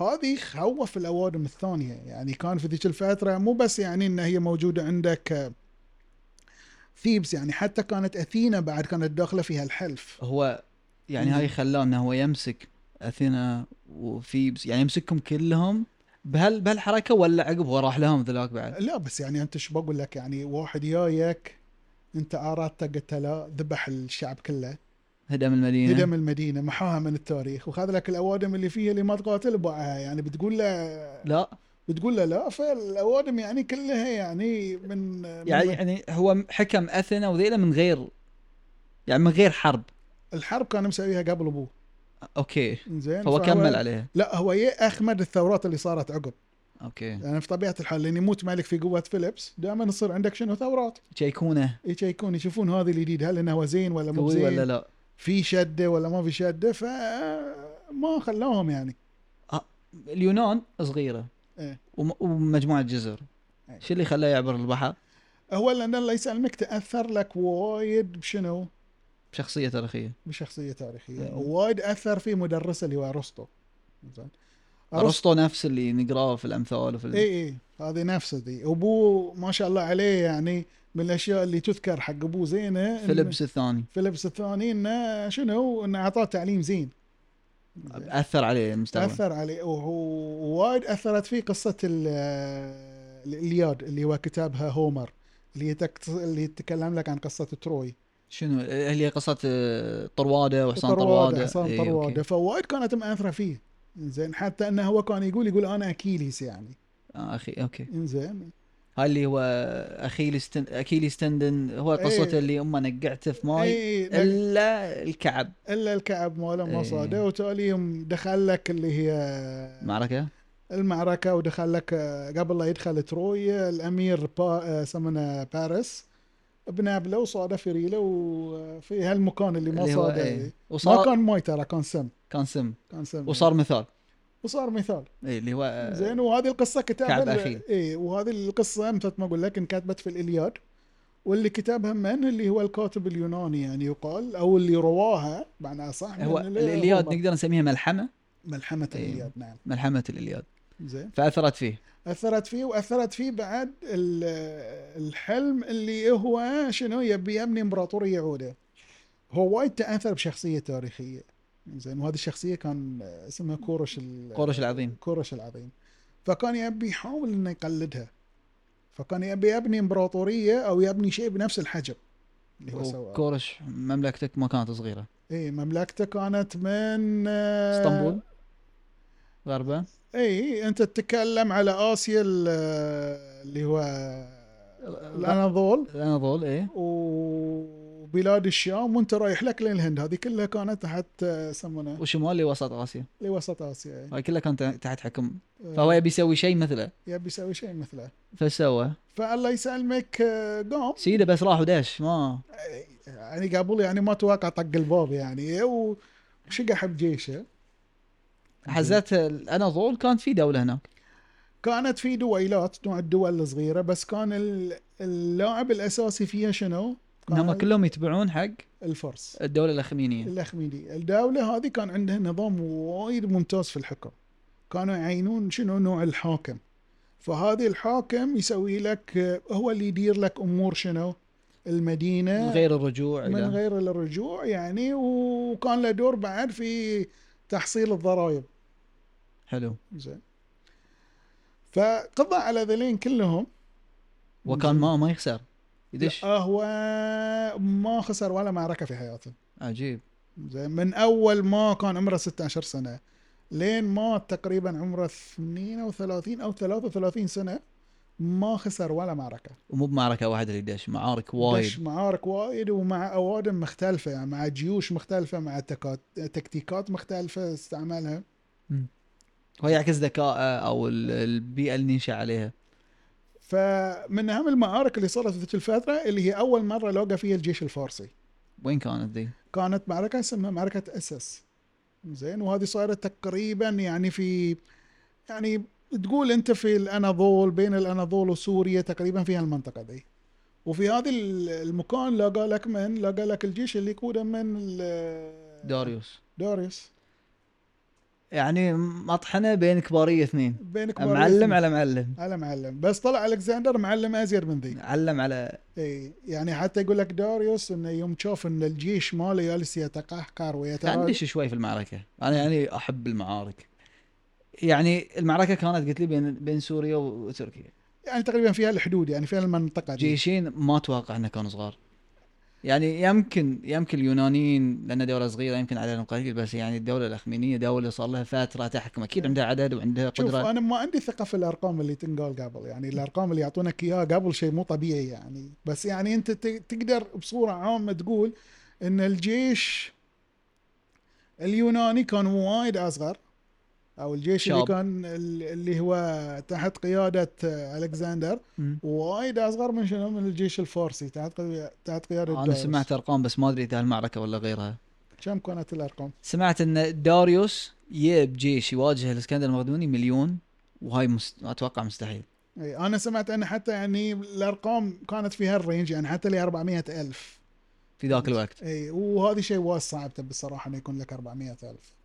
B: هذه خوف الاوادم الثانيه يعني كان في ذيك الفتره مو بس يعني ان هي موجوده عندك ثيبس يعني حتى كانت اثينا بعد كانت داخله فيها الحلف
A: هو يعني هاي خلاه انه هو يمسك اثينا وفيبس يعني يمسكهم كلهم بهال بهالحركه ولا عقب هو راح لهم ذلاك بعد
B: لا بس يعني انت شو بقول لك يعني واحد جايك انت ارادته قتله ذبح الشعب كله
A: هدم المدينه
B: هدم المدينه محاها من التاريخ وخذ لك الاوادم اللي فيها اللي ما تقاتل باعها يعني بتقول له
A: لا
B: بتقول له لا فالاوادم يعني كلها يعني من من
A: يعني يعني هو حكم اثينا وذيلا من غير يعني من غير حرب
B: الحرب كان مسويها قبل ابوه
A: اوكي
B: زين
A: فهو كمل عليها
B: لا هو يه اخمد الثورات اللي صارت عقب
A: اوكي
B: يعني في طبيعه الحال لان يموت ملك في قوه فيليبس دائما يصير عندك شنو ثورات
A: شيكونه
B: يشيكون يشوفون هذا الجديد هل انه هو زين ولا مو
A: قوي
B: زين
A: ولا لا
B: في شده ولا ما في شده ف ما خلوهم يعني
A: اليونان صغيره
B: إيه.
A: وم- ومجموعه جزر
B: إيه.
A: شو اللي خلاه يعبر البحر
B: هو لان الله يسلمك تاثر لك وايد بشنو؟
A: بشخصيه تاريخيه
B: بشخصيه تاريخيه
A: إيه.
B: وايد اثر في مدرسه اللي هو ارسطو زين
A: ارسطو نفس اللي نقراه في الامثال وفي ال...
B: اي اي إيه، هذه نفسه دي ابوه ما شاء الله عليه يعني من الاشياء اللي تذكر حق ابوه زينه إن-
A: فيلبس الثاني
B: فيليبس الثاني انه شنو؟ انه اعطاه تعليم زين
A: اثر عليه المستقبل
B: اثر عليه وهو- ووايد اثرت فيه قصه ال- الالياد اللي هو كتابها هومر اللي تكت... اللي يتكلم لك عن قصه تروي
A: شنو اللي قصه آه، طرواده وحصان طرواده
B: طروادة حصان
A: إيه، أوكي.
B: طرواده فوايد كانت مأثره فيه زين حتى انه هو كان يقول يقول انا اكيليس يعني
A: آه اخي اوكي
B: انزين
A: هاي اللي هو اخيليس تن... اخيليس تندن هو قصته
B: إيه.
A: اللي امه نقعته في ماي
B: اي لك-
A: الا الكعب
B: الا إيه، الكعب ماله ما
A: إيه.
B: صاده وتاليهم دخل لك اللي هي
A: معركه
B: المعركة ودخل لك آه، قبل لا يدخل تروي الأمير با آه، سمنا باريس بنابله وصادف ريله وفي آه، هالمكان اللي ما
A: اللي هو
B: صاده
A: إيه.
B: ما
A: وصار كان...
B: كان ماي ترى كان سم
A: كان سم
B: كان سم
A: وصار مثال
B: وصار مثال
A: إيه اللي هو آه،
B: زين وهذه القصة
A: كعب
B: كتابة
A: أخيل.
B: اي وهذه القصة مثل ما اقول لك انكتبت في الإلياد واللي كتبها من اللي هو الكاتب اليوناني يعني يقال او اللي رواها معناها صح
A: هو
B: من اللي
A: الالياد
B: هو
A: نقدر نسميها ملحمه
B: ملحمة
A: إيه.
B: الإلياد نعم
A: ملحمه الالياد
B: زين
A: فاثرت فيه
B: اثرت فيه واثرت فيه بعد ال- الحلم اللي هو شنو يبي يبني امبراطوريه يعوده هو وايد تاثر بشخصيه تاريخيه زين وهذه الشخصيه كان اسمها كورش ال-
A: قورش العظيم
B: كورش العظيم فكان يبي يحاول انه يقلدها فكان يبي يبني امبراطوريه او يبني شيء بنفس الحجم اللي هو سواه
A: كورش مملكتك ما كانت صغيره
B: اي مملكته كانت من آه،
A: اسطنبول غربه
B: اي انت إيه، تتكلم على اسيا ال- اللي هو الاناضول
A: الاناضول ايه
B: وبلاد الشام وانت رايح لك للهند هذه كلها كانت تحت آه، يسمونه
A: وشمال لوسط اسيا
B: لوسط اسيا يعني.
A: هاي كلها كانت تحت حكم
B: آه،
A: فهو يبي يسوي شيء مثله
B: يبي يسوي شيء مثله
A: فسوى
B: فالله يسلمك آه، قام
A: سيده بس راح ودش ما
B: يعني قبل يعني ما توقع طق الباب يعني و- وشقح بجيشه
A: حزت الاناضول كانت في دوله هناك
B: كانت في دويلات نوع الدول الصغيره بس كان ال- اللاعب الاساسي فيها شنو؟ كان
A: انهم كلهم يتبعون حق
B: الفرس
A: الدوله الاخمينيه
B: الاخميدي الدولة هذه كان عندها نظام وايد ممتاز في الحكم كانوا يعينون شنو نوع الحاكم فهذه الحاكم يسوي لك هو اللي يدير لك امور شنو
A: من
B: المدينة
A: غير الرجوع
B: من
A: الى
B: غير الرجوع يعني وكان له دور بعد في تحصيل الضرائب
A: حلو
B: زين فقضى على ذلين كلهم
A: وكان ما ما يخسر يدش
B: لا، هو ما خسر ولا معركة في حياته
A: عجيب
B: زين من اول ما كان عمره 16 سنه لين ما تقريبا عمره 32 او 33 سنه ما خسر ولا معركه
A: ومو بمعركه واحده اللي دش معارك
B: دش
A: وايد
B: معارك وايد ومع اوادم مختلفه يعني مع جيوش مختلفه مع تكات- تكتيكات مختلفه استعملها
A: وهو يعكس ذكائه او ال- البيئه اللي نشا عليها
B: فمن اهم المعارك اللي صارت في تلك الفتره اللي هي اول مره لقى فيها الجيش الفارسي
A: وين كانت ذي؟
B: كانت معركه اسمها معركه اسس زين وهذه صارت تقريبا يعني في يعني تقول انت في الاناضول بين الاناضول وسوريا تقريبا في هالمنطقه دي وفي هذا ال- المكان لقى لك من لقى لك الجيش اللي يقوده من ال-
A: داريوس
B: داريوس
A: يعني مطحنه بين كباريه اثنين
B: بينك وبين
A: معلم على معلم
B: على معلم بس طلع الكسندر معلم ازير من ذي
A: علم على
B: اي يعني حتى يقول لك داريوس انه يوم شاف ان الجيش ماله جالس يتقهقر ويتراجع
A: عندش شوي في المعركه انا يعني احب المعارك يعني المعركه كانت قلت لي بين بين سوريا وتركيا
B: يعني تقريبا فيها الحدود يعني فيها المنطقه دي
A: جيشين ما اتوقع انه كانوا صغار يعني يمكن يمكن اليونانيين لان دوله صغيره يمكن عددهم قليل بس يعني الدوله الاخمينيه دوله صار لها فتره تحكم اكيد عندها عدد وعندها
B: شوف
A: قدره
B: انا ما عندي ثقه في الارقام اللي تنقال قبل يعني الارقام اللي يعطونك اياها قبل شيء مو طبيعي يعني بس يعني انت ت- تقدر بصوره عامه تقول ان الجيش اليوناني كان وايد اصغر او الجيش اللي
A: شاب.
B: كان ال- اللي هو تحت قياده آه، الكسندر
A: مم.
B: وايد اصغر من شنو من الجيش الفارسي تحت قي- تحت قياده
A: انا
B: دايوس.
A: سمعت ارقام بس ما ادري اذا المعركه ولا غيرها
B: كم كانت الارقام؟
A: سمعت ان داريوس يب جيش يواجه الاسكندر المقدوني مليون وهاي مست... اتوقع مستحيل
B: اي انا سمعت ان حتى يعني الارقام كانت في هالرينج يعني حتى ل 400 الف
A: في ذاك الوقت
B: اي وهذا شيء وايد صعب تبي الصراحه انه يكون لك 400 الف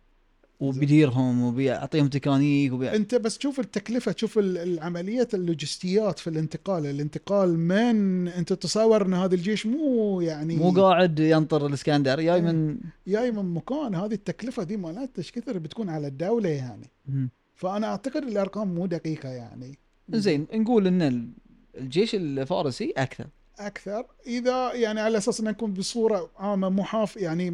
A: وبيديرهم وبيعطيهم تكانيك وبي...
B: انت بس تشوف التكلفه تشوف ال- العمليه اللوجستيات في الانتقال الانتقال من انت تصور ان هذا الجيش مو يعني
A: مو قاعد ينطر الاسكندر جاي من
B: جاي من مكان هذه التكلفه دي مالتها ايش كثر بتكون على الدوله يعني
A: مم.
B: فانا اعتقد الارقام مو دقيقه يعني
A: زين نقول ان ال- الجيش الفارسي اكثر
B: اكثر اذا يعني على اساس ان نكون بصوره عامه محاف يعني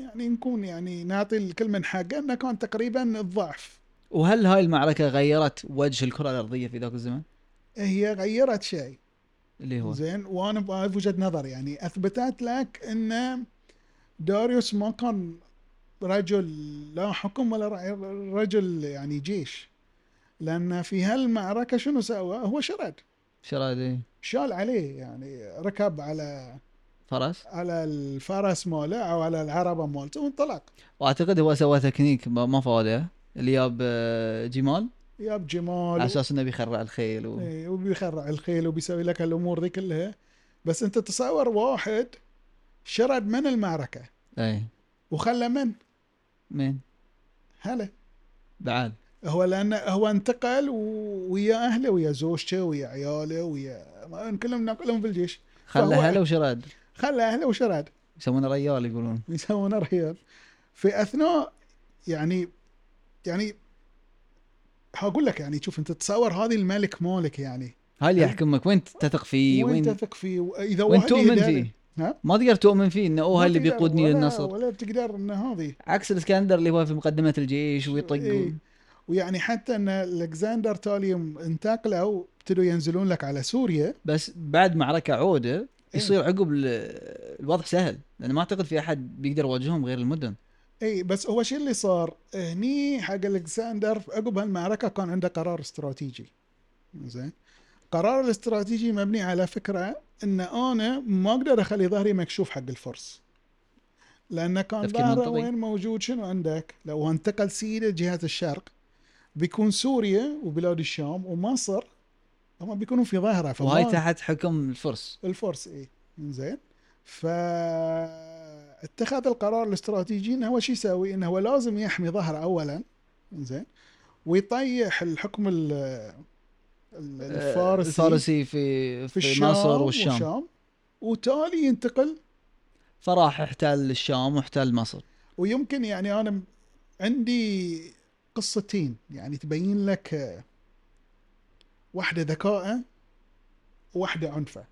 B: يعني نكون يعني نعطي الكل من حقه انه كان تقريبا الضعف
A: وهل هاي المعركه غيرت وجه الكره الارضيه في ذاك الزمن
B: هي غيرت شيء
A: اللي هو
B: زين وانا ب- في وجهه نظر يعني اثبتت لك ان داريوس ما كان رجل لا حكم ولا ر- رجل يعني جيش لان في هالمعركه شنو سوى؟ هو شرد
A: شرادي
B: شال عليه يعني ركب على
A: فرس
B: على الفرس ماله او على العربه مالته وانطلق
A: واعتقد هو سوى تكنيك ما ما فاده اللي جاب آه، جمال
B: ياب
A: على
B: جمال
A: اساس انه بيخرع الخيل و...
B: إيه، وبيخرع الخيل وبيسوي لك هالامور ذي كلها بس انت تصور واحد شرد من المعركه
A: اي
B: وخلى من؟
A: إيه. مين
B: هلا
A: بعد
B: هو لان هو انتقل و- ويا اهله ويا زوجته ويا عياله ويا ما- كلهم نقلهم في الجيش
A: خلى
B: فهو-
A: هلا وشراد
B: خلى اهله وشراد
A: يسمونه ريال يقولون
B: يسوونه ريال في اثناء يعني يعني حقول لك يعني شوف انت تصور هذه الملك مالك يعني
A: هاي اللي يحكمك وين تثق فيه
B: وين
A: وين
B: تثق فيه واذا
A: وين
B: واحد
A: تؤمن
B: يهدى-
A: فيه
B: ها؟
A: ما تقدر تؤمن فيه انه اوه
B: ما
A: هاي اللي
B: تقدر
A: بيقودني
B: ولا-
A: للنصر
B: ولا بتقدر ان هذه
A: عكس الاسكندر اللي هو في مقدمه الجيش ويطق و-
B: إيه. ويعني حتى ان الكسندر تاليوم انتقلوا ابتدوا ينزلون لك على سوريا
A: بس بعد معركه
B: إيه.
A: عوده يصير عقب ال- الوضع سهل لان ما اعتقد في احد بيقدر يواجههم غير المدن
B: اي إيه، بس هو شو اللي صار؟ هني حق الكسندر عقب هالمعركه كان عنده قرار استراتيجي. زين؟ قرار الاستراتيجي مبني على فكره ان انا ما اقدر اخلي ظهري مكشوف حق الفرس. لانه كان
A: تفكير
B: ظهره
A: منطقي.
B: وين موجود شنو عندك؟ لو انتقل سيده جهه الشرق بيكون سوريا وبلاد الشام ومصر هم بيكونوا في ظهره فما-
A: وهاي تحت حكم الفرس
B: الفرس اي زين فاتخذ القرار الاستراتيجي انه هو شو يسوي؟ انه هو لازم يحمي ظهره اولا زين ويطيح الحكم ال- ال-
A: آه،
B: يعني الفارسي
A: الفارسي في
B: في
A: في,
B: الشام
A: مصر والشام
B: والشام وتالي ينتقل
A: فراح احتل الشام واحتل مصر
B: ويمكن يعني انا م- عندي قصتين يعني تبين لك آه، واحده ذكاءه وواحده عنفه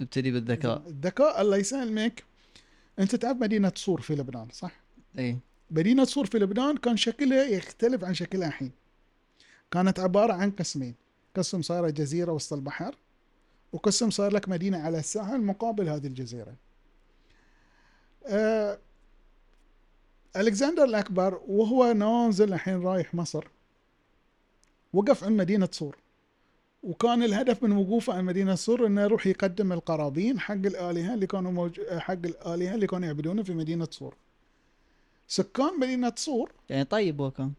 A: نبتدي بالذكاء
B: الذكاء الله يسلمك انت تعرف مدينه صور في لبنان صح؟
A: اي
B: مدينة صور في لبنان كان شكلها يختلف عن شكلها الحين كانت عبارة عن قسمين قسم صار جزيرة وسط البحر وقسم صار لك مدينة على الساحل مقابل هذه الجزيرة آه ألكسندر الأكبر وهو نازل الحين رايح مصر وقف عن مدينة صور وكان الهدف من وقوفه عن مدينة صور انه يروح يقدم القرابين حق الآلهة اللي كانوا موج... حق الآلهة اللي كانوا يعبدونه في مدينة صور سكان مدينة صور
A: يعني طيب هو كان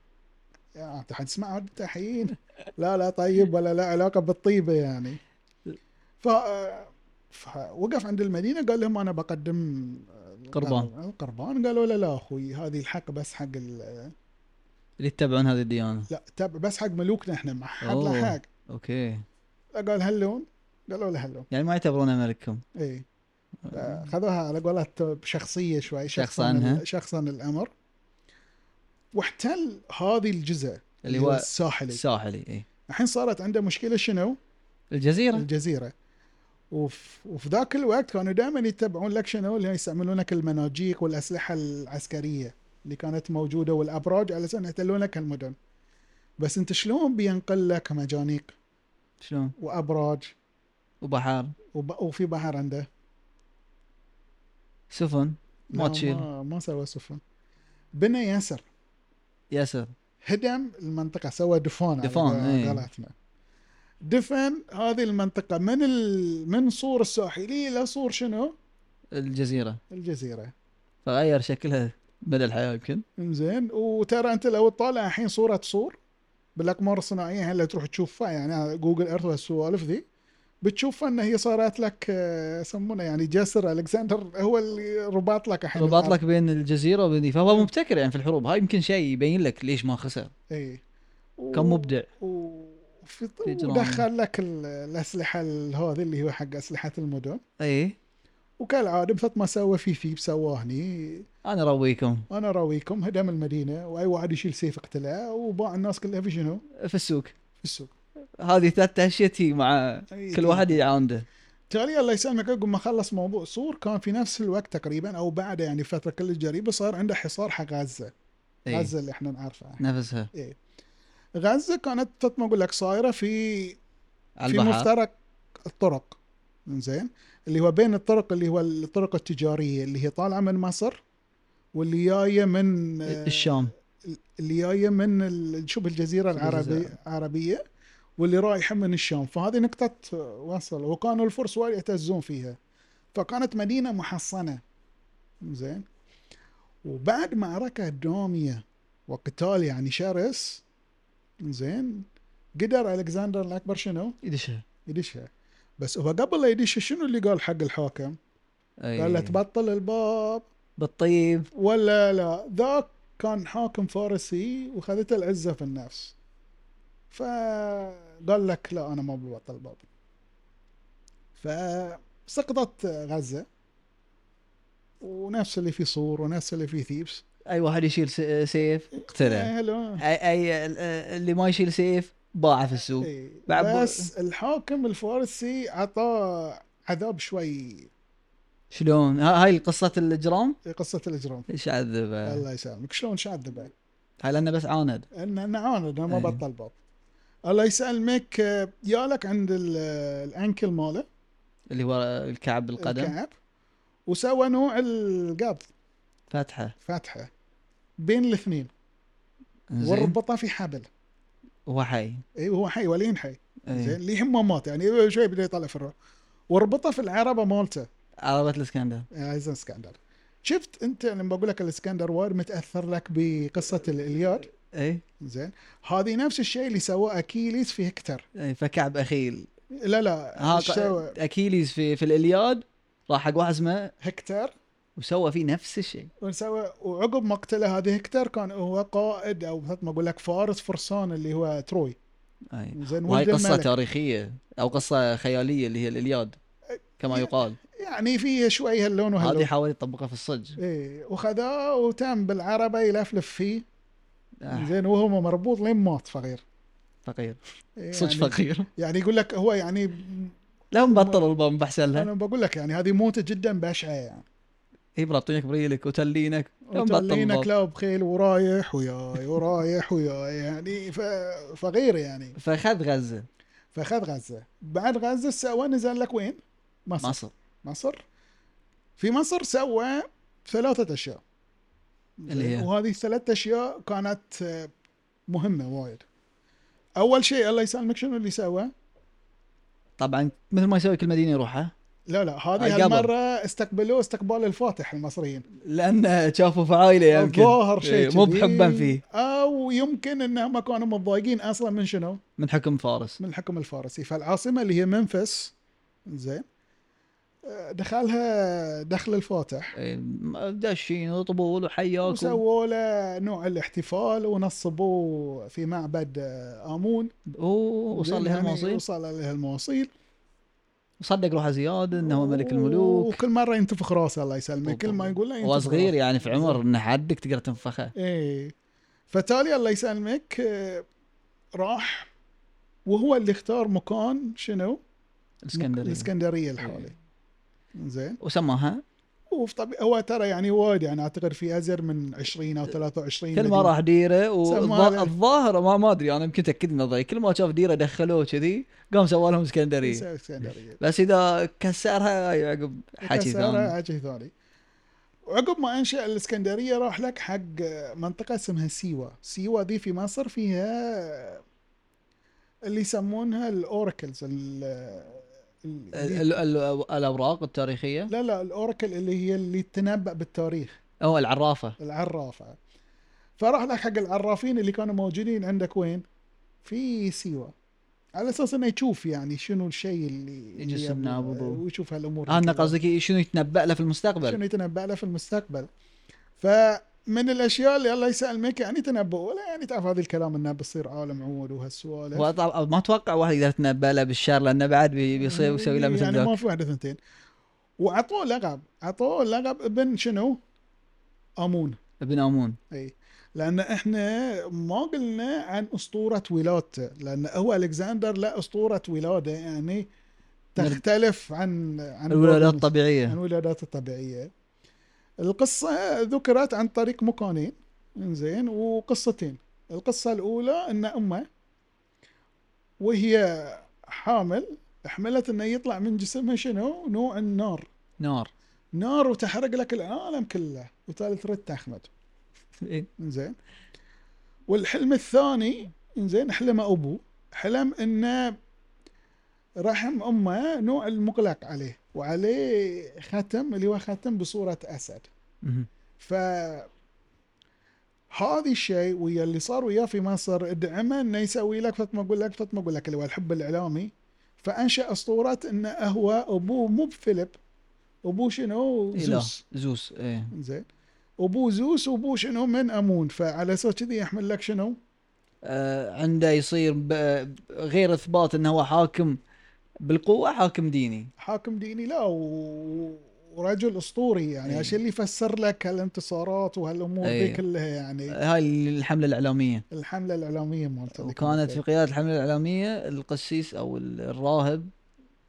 B: يعني انت حتسمع انت الحين لا لا طيب ولا لا علاقه بالطيبه يعني ف فوقف عند المدينه قال لهم انا بقدم
A: قربان.
B: القربان قالوا له لا اخوي هذه الحق بس حق ال...
A: اللي يتبعون هذه الديانه
B: لا تب بس حق ملوكنا احنا ما حد
A: أوه.
B: له حق
A: اوكي
B: قال هلون قالوا له هلون
A: يعني ما يعتبرونه ملككم
B: اي خذوها على قولة شخصية شوي
A: شخصنها.
B: شخصا شخصا الامر واحتل هذه الجزء
A: اللي هو
B: الساحلي
A: الساحلي اي
B: الحين صارت عنده مشكلة شنو؟
A: الجزيره
B: الجزيره وف... وفي ذاك الوقت كانوا دائما يتبعون لك شنو اللي يستعملون لك المناجيك والاسلحه العسكريه اللي كانت موجوده والابراج على اساس إنه يحتلون لك المدن بس انت شلون بينقل لك مجانيق
A: شلون
B: وابراج
A: وبحار
B: وب... وفي بحر عنده
A: سفن ما
B: لا،
A: تشيل.
B: ما, ما سوى سفن بنى ياسر
A: ياسر
B: هدم المنطقه سوى دفان على
A: دفان، إيه.
B: قولتنا دفن هذه المنطقه من ال... من صور الساحليه الى صور شنو
A: الجزيره
B: الجزيره
A: فغير شكلها مدى الحياه يمكن
B: زين وترى انت لو تطالع الحين صوره صور بالاقمار الصناعيه هلا تروح تشوفها يعني جوجل ايرث والسوالف ذي بتشوفها ان هي صارت لك آه، يسمونه يعني جسر الكسندر هو اللي رباط لك الحين
A: رباط
B: الأرض.
A: لك بين الجزيره وبين دي. فهو مبتكر يعني في الحروب هاي يمكن شيء يبين لك ليش ما خسر
B: اي و-
A: كان مبدع
B: وفي
A: في جرام.
B: ودخل لك ال- الاسلحه ال- هذه اللي هو حق اسلحه المدن
A: اي
B: وكالعاده مثل ما سوى في فيب سواه هني
A: انا رويكم
B: انا راويكم هدم المدينه واي واحد يشيل سيف اقتلاه وباع الناس كلها في شنو؟
A: في السوق
B: في السوق
A: هذه ثلاث اشيتي مع
B: أي
A: كل واحد يعاونده
B: تالي الله يسلمك عقب ما خلص موضوع صور كان في نفس الوقت تقريبا او بعده يعني فتره كلش قريبه صار عنده حصار حق غزه،
A: إيه.
B: غزه اللي احنا نعرفها.
A: نفسها
B: غزه كانت مثل ما اقول لك صايره في
A: على
B: في
A: البحر
B: مفترق الطرق زين اللي هو بين الطرق اللي هو الطرق التجاريه اللي هي طالعه من مصر واللي جايه من آه،
A: الشام
B: اللي جايه من ال- شبه
A: شبه الجزيرة.
B: الجزيره العربيه العربيه واللي رايحه من الشام فهذه نقطه وصل وكانوا الفرس وايد يعتزون فيها فكانت مدينه محصنه زين وبعد معركه داميه وقتال يعني شرس زين قدر الكسندر الاكبر شنو
A: يدشها
B: يدشها بس هو قبل لا يدشها شنو اللي قال حق الحاكم؟
A: أي.
B: قال له تبطل الباب
A: بالطيب
B: ولا لا ذاك كان حاكم فارسي وخذته العزة في النفس فقال لك لا أنا ما ببطل الباب فسقطت غزة ونفس اللي في صور ونفس اللي في ثيبس
A: اي واحد أيوة، يشيل س- سيف اقتله
B: إيه، هلا.
A: اي اي ال- اللي ما يشيل سيف باع في السوق
B: إيه.
A: بعد-
B: بس الحاكم الفارسي عطاه عذاب شوي
A: شلون ها- هاي قصه الاجرام
B: قصه الاجرام
A: ايش عذبه
B: الله يسلمك شلون شعذبه
A: هاي لانه بس عاند
B: ان انا عاند انا ما
A: إيه.
B: بطل بط الله يسلمك آه، يالك عند ال- آه، الانكل ماله
A: اللي هو الكعب بالقدم
B: الكعب وسوى نوع القبض
A: فتحه
B: فاتحه بين الاثنين
A: زين
B: وربطه في حبل
A: هو حي
B: اي وهو حي ولين حي
A: إيه.
B: زين ليه ما مات يعني شوي بدا يطلع في الروح وربطه في العربه مالته
A: عربة الاسكندر
B: عايز اسكندر شفت انت لما بقول لك الاسكندر وايد متاثر لك بقصه الالياد
A: اي
B: زين هذه نفس الشيء اللي سواه اكيليس في هكتر
A: اي فكعب اخيل
B: لا لا
A: ها
B: سوى
A: اكيليز في في الالياد راح حق واحد اسمه
B: هكتر
A: وسوى فيه نفس الشيء
B: ونسوي وعقب مقتله هذه هكتر كان هو قائد او مثل ما اقول لك فارس فرسان اللي هو تروي
A: اي
B: زين
A: وهي
B: ولد
A: قصه
B: الملك.
A: تاريخيه او قصه خياليه اللي هي الالياد كما يقال
B: يعني فيه شوي هاللون
A: هذه
B: وهاللون
A: حاول يطبقها في الصج
B: ايه وخذاه وتم بالعربه يلفلف فيه
A: آه،
B: زين وهو مربوط لين مات فقير
A: فقير
B: إيه،
A: صج
B: يعني
A: فقير
B: يعني يقول لك هو يعني
A: لا مبطل البومب احسن لها
B: انا بقول لك يعني هذه موته جدا بشعه يعني
A: اي مربطينك بريلك وتلينك لا مبطل
B: وتعلينك
A: البومب
B: لا بخيل ورايح وياي ورايح وياي يعني ف- فقير يعني
A: فخذ غزه
B: فاخذ غزه بعد غزه سوى نزل لك وين؟ مصر
A: مصر
B: مصر في مصر سوى ثلاثة أشياء
A: اللي هي؟
B: وهذه الثلاث أشياء كانت آه، مهمة وايد أول شيء الله يسلمك شنو اللي سوى؟
A: طبعا مثل ما يسوي كل مدينه يروحها
B: لا لا
A: آه،
B: هذه
A: قبل.
B: هالمرة استقبلوه استقبال الفاتح المصريين
A: لان شافوا فعايله يمكن
B: الظاهر شيء
A: إيه، مو
B: كذي.
A: بحبا فيه
B: أو يمكن أنهم كانوا متضايقين أصلا من شنو؟
A: من حكم فارس
B: من الحكم الفارسي فالعاصمة اللي هي منفس زين آه، دخلها دخل الفاتح
A: إيه، م- داشين وطبول وحياك و-
B: وسووا له نوع الاحتفال ونصبوه في معبد آه، آمون
A: أوه، وصل
B: زين،
A: لها
B: يعني
A: المواصيل
B: وصل له المواصيل
A: وصدق روحه زياد انه هو ملك الملوك
B: وكل مرة ينتفخ راسه الله يسلمه
A: بالضبط.
B: كل ما يقول له
A: هو صغير يعني في عمر انه حدك تقدر تنفخه
B: ايه فتالي الله يسلمك آه، راح وهو اللي اختار مكان شنو؟
A: الاسكندريه
B: الاسكندرية
A: إيه.
B: الحالي زين
A: وسماها
B: وطبيعي هو ترى يعني وايد يعني اعتقد في ازر من 20 او 23
A: كل ما
B: مدينة.
A: راح ديره
B: سماها-
A: والظاهر ما ما ادري انا يمكن تاكد انه ضايق كل ما شاف ديره دخلوه كذي قام سوى لهم
B: إيه،
A: اسكندريه
B: اسكندرية
A: بس اذا كسرها يعقب حكي
B: كسارة
A: ثاني
B: حكي ثاني وعقب ما انشا الاسكندريه راح لك حق منطقه اسمها سيوا سيوا دي في مصر فيها اللي يسمونها الاوراكلز ال ال-
A: ال- ال- ال- الاوراق التاريخيه
B: لا لا الاوراكل اللي هي اللي تنبأ بالتاريخ
A: او العرافه
B: العرافه فراح لك حق العرافين اللي كانوا موجودين عندك وين؟ في سيوا على اساس انه يشوف يعني شنو الشيء اللي
A: يجسمنا
B: اللي-
A: أبو-
B: ويشوف هالامور
A: انا
B: الكذا.
A: قصدك إيه، شنو يتنبأ له في المستقبل
B: شنو يتنبأ له في المستقبل فمن الاشياء اللي الله يسلمك يعني تنبؤ ولا يعني تعرف هذا الكلام انه بيصير عالم عود وهالسوالف
A: وطبعاً ما اتوقع واحد يقدر يتنبأ له بالشر لانه بعد بي- بيصير يسوي له مثل
B: يعني
A: ذاك
B: ما في واحد اثنتين وعطوه لقب عطوه لقب ابن شنو؟ امون
A: ابن امون
B: اي لان احنا ما قلنا عن اسطوره ولادته لان هو الكسندر له اسطوره ولاده يعني تختلف عن عن
A: الولادات
B: بولتنس. عن
A: الطبيعيه
B: الولادات الطبيعية القصة ذكرت عن طريق مكانين زين وقصتين القصة الأولى أن أمه وهي حامل حملت أنه يطلع من جسمها شنو نوع النار
A: نار
B: نار وتحرق لك العالم كله وتالي ترد تخمد
A: إيه.
B: زين والحلم الثاني زين حلمه أبوه حلم أنه رحم أمه نوع المقلق عليه وعليه ختم اللي هو ختم بصورة أسد
A: مهم.
B: ف هذا الشيء ويا اللي صار وياه في مصر دعمه انه يسوي لك فت ما اقول لك فت ما اقول لك اللي هو الحب الاعلامي فانشا اسطوره انه هو ابوه مو بفيلب ابوه شنو؟
A: إله.
B: زوس
A: زوس ايه
B: زين ابوه زوس وابوه شنو من امون فعلى اساس كذي يحمل لك شنو؟
A: آه، عنده يصير ب- غير اثبات انه هو حاكم بالقوه حاكم ديني
B: حاكم ديني لا و... ورجل اسطوري يعني
A: إيه.
B: عشان اللي يفسر لك هالانتصارات وهالامور
A: إيه.
B: دي كلها يعني
A: آه، هاي الحمله الاعلاميه
B: الحمله الاعلاميه مالته ذيك
A: وكانت في
B: الوقت.
A: قياده الحمله الاعلاميه القسيس او الراهب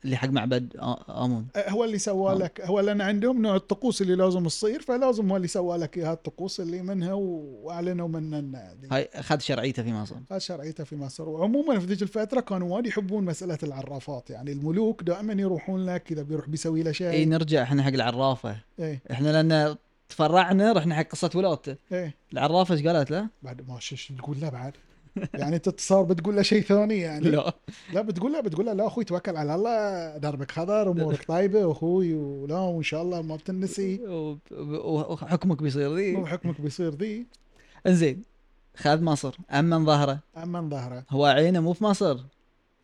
A: اللي حق معبد آ- امون
B: أه، هو اللي سوى
A: آه.
B: لك هو لان عندهم نوع الطقوس اللي لازم تصير فلازم هو اللي سوى لك اياها الطقوس اللي منها واعلنوا منها إنها دي.
A: هاي اخذ شرعيته في مصر
B: هاي شرعيته في مصر وعموما في ذيك الفتره كانوا وايد يحبون مساله العرافات يعني الملوك دائما يروحون لك اذا بيروح بيسوي له شيء
A: اي إيه، نرجع احنا حق العرافه
B: ايه
A: احنا لان تفرعنا رحنا حق قصه ولادته
B: ايه
A: العرافه ايش قالت له؟
B: بعد ما شش تقول له بعد يعني انت تصار بتقول له شيء ثاني يعني لا, لا بتقول له بتقول له لا اخوي توكل على الله دربك خضر امورك طيبه اخوي ولا وان شاء الله ما بتنسي
A: و- و- وحكمك بيصير ذي
B: مو حكمك بيصير ذي
A: انزين خذ مصر اما ظهره
B: اما ظهره
A: هو عينه مو في مصر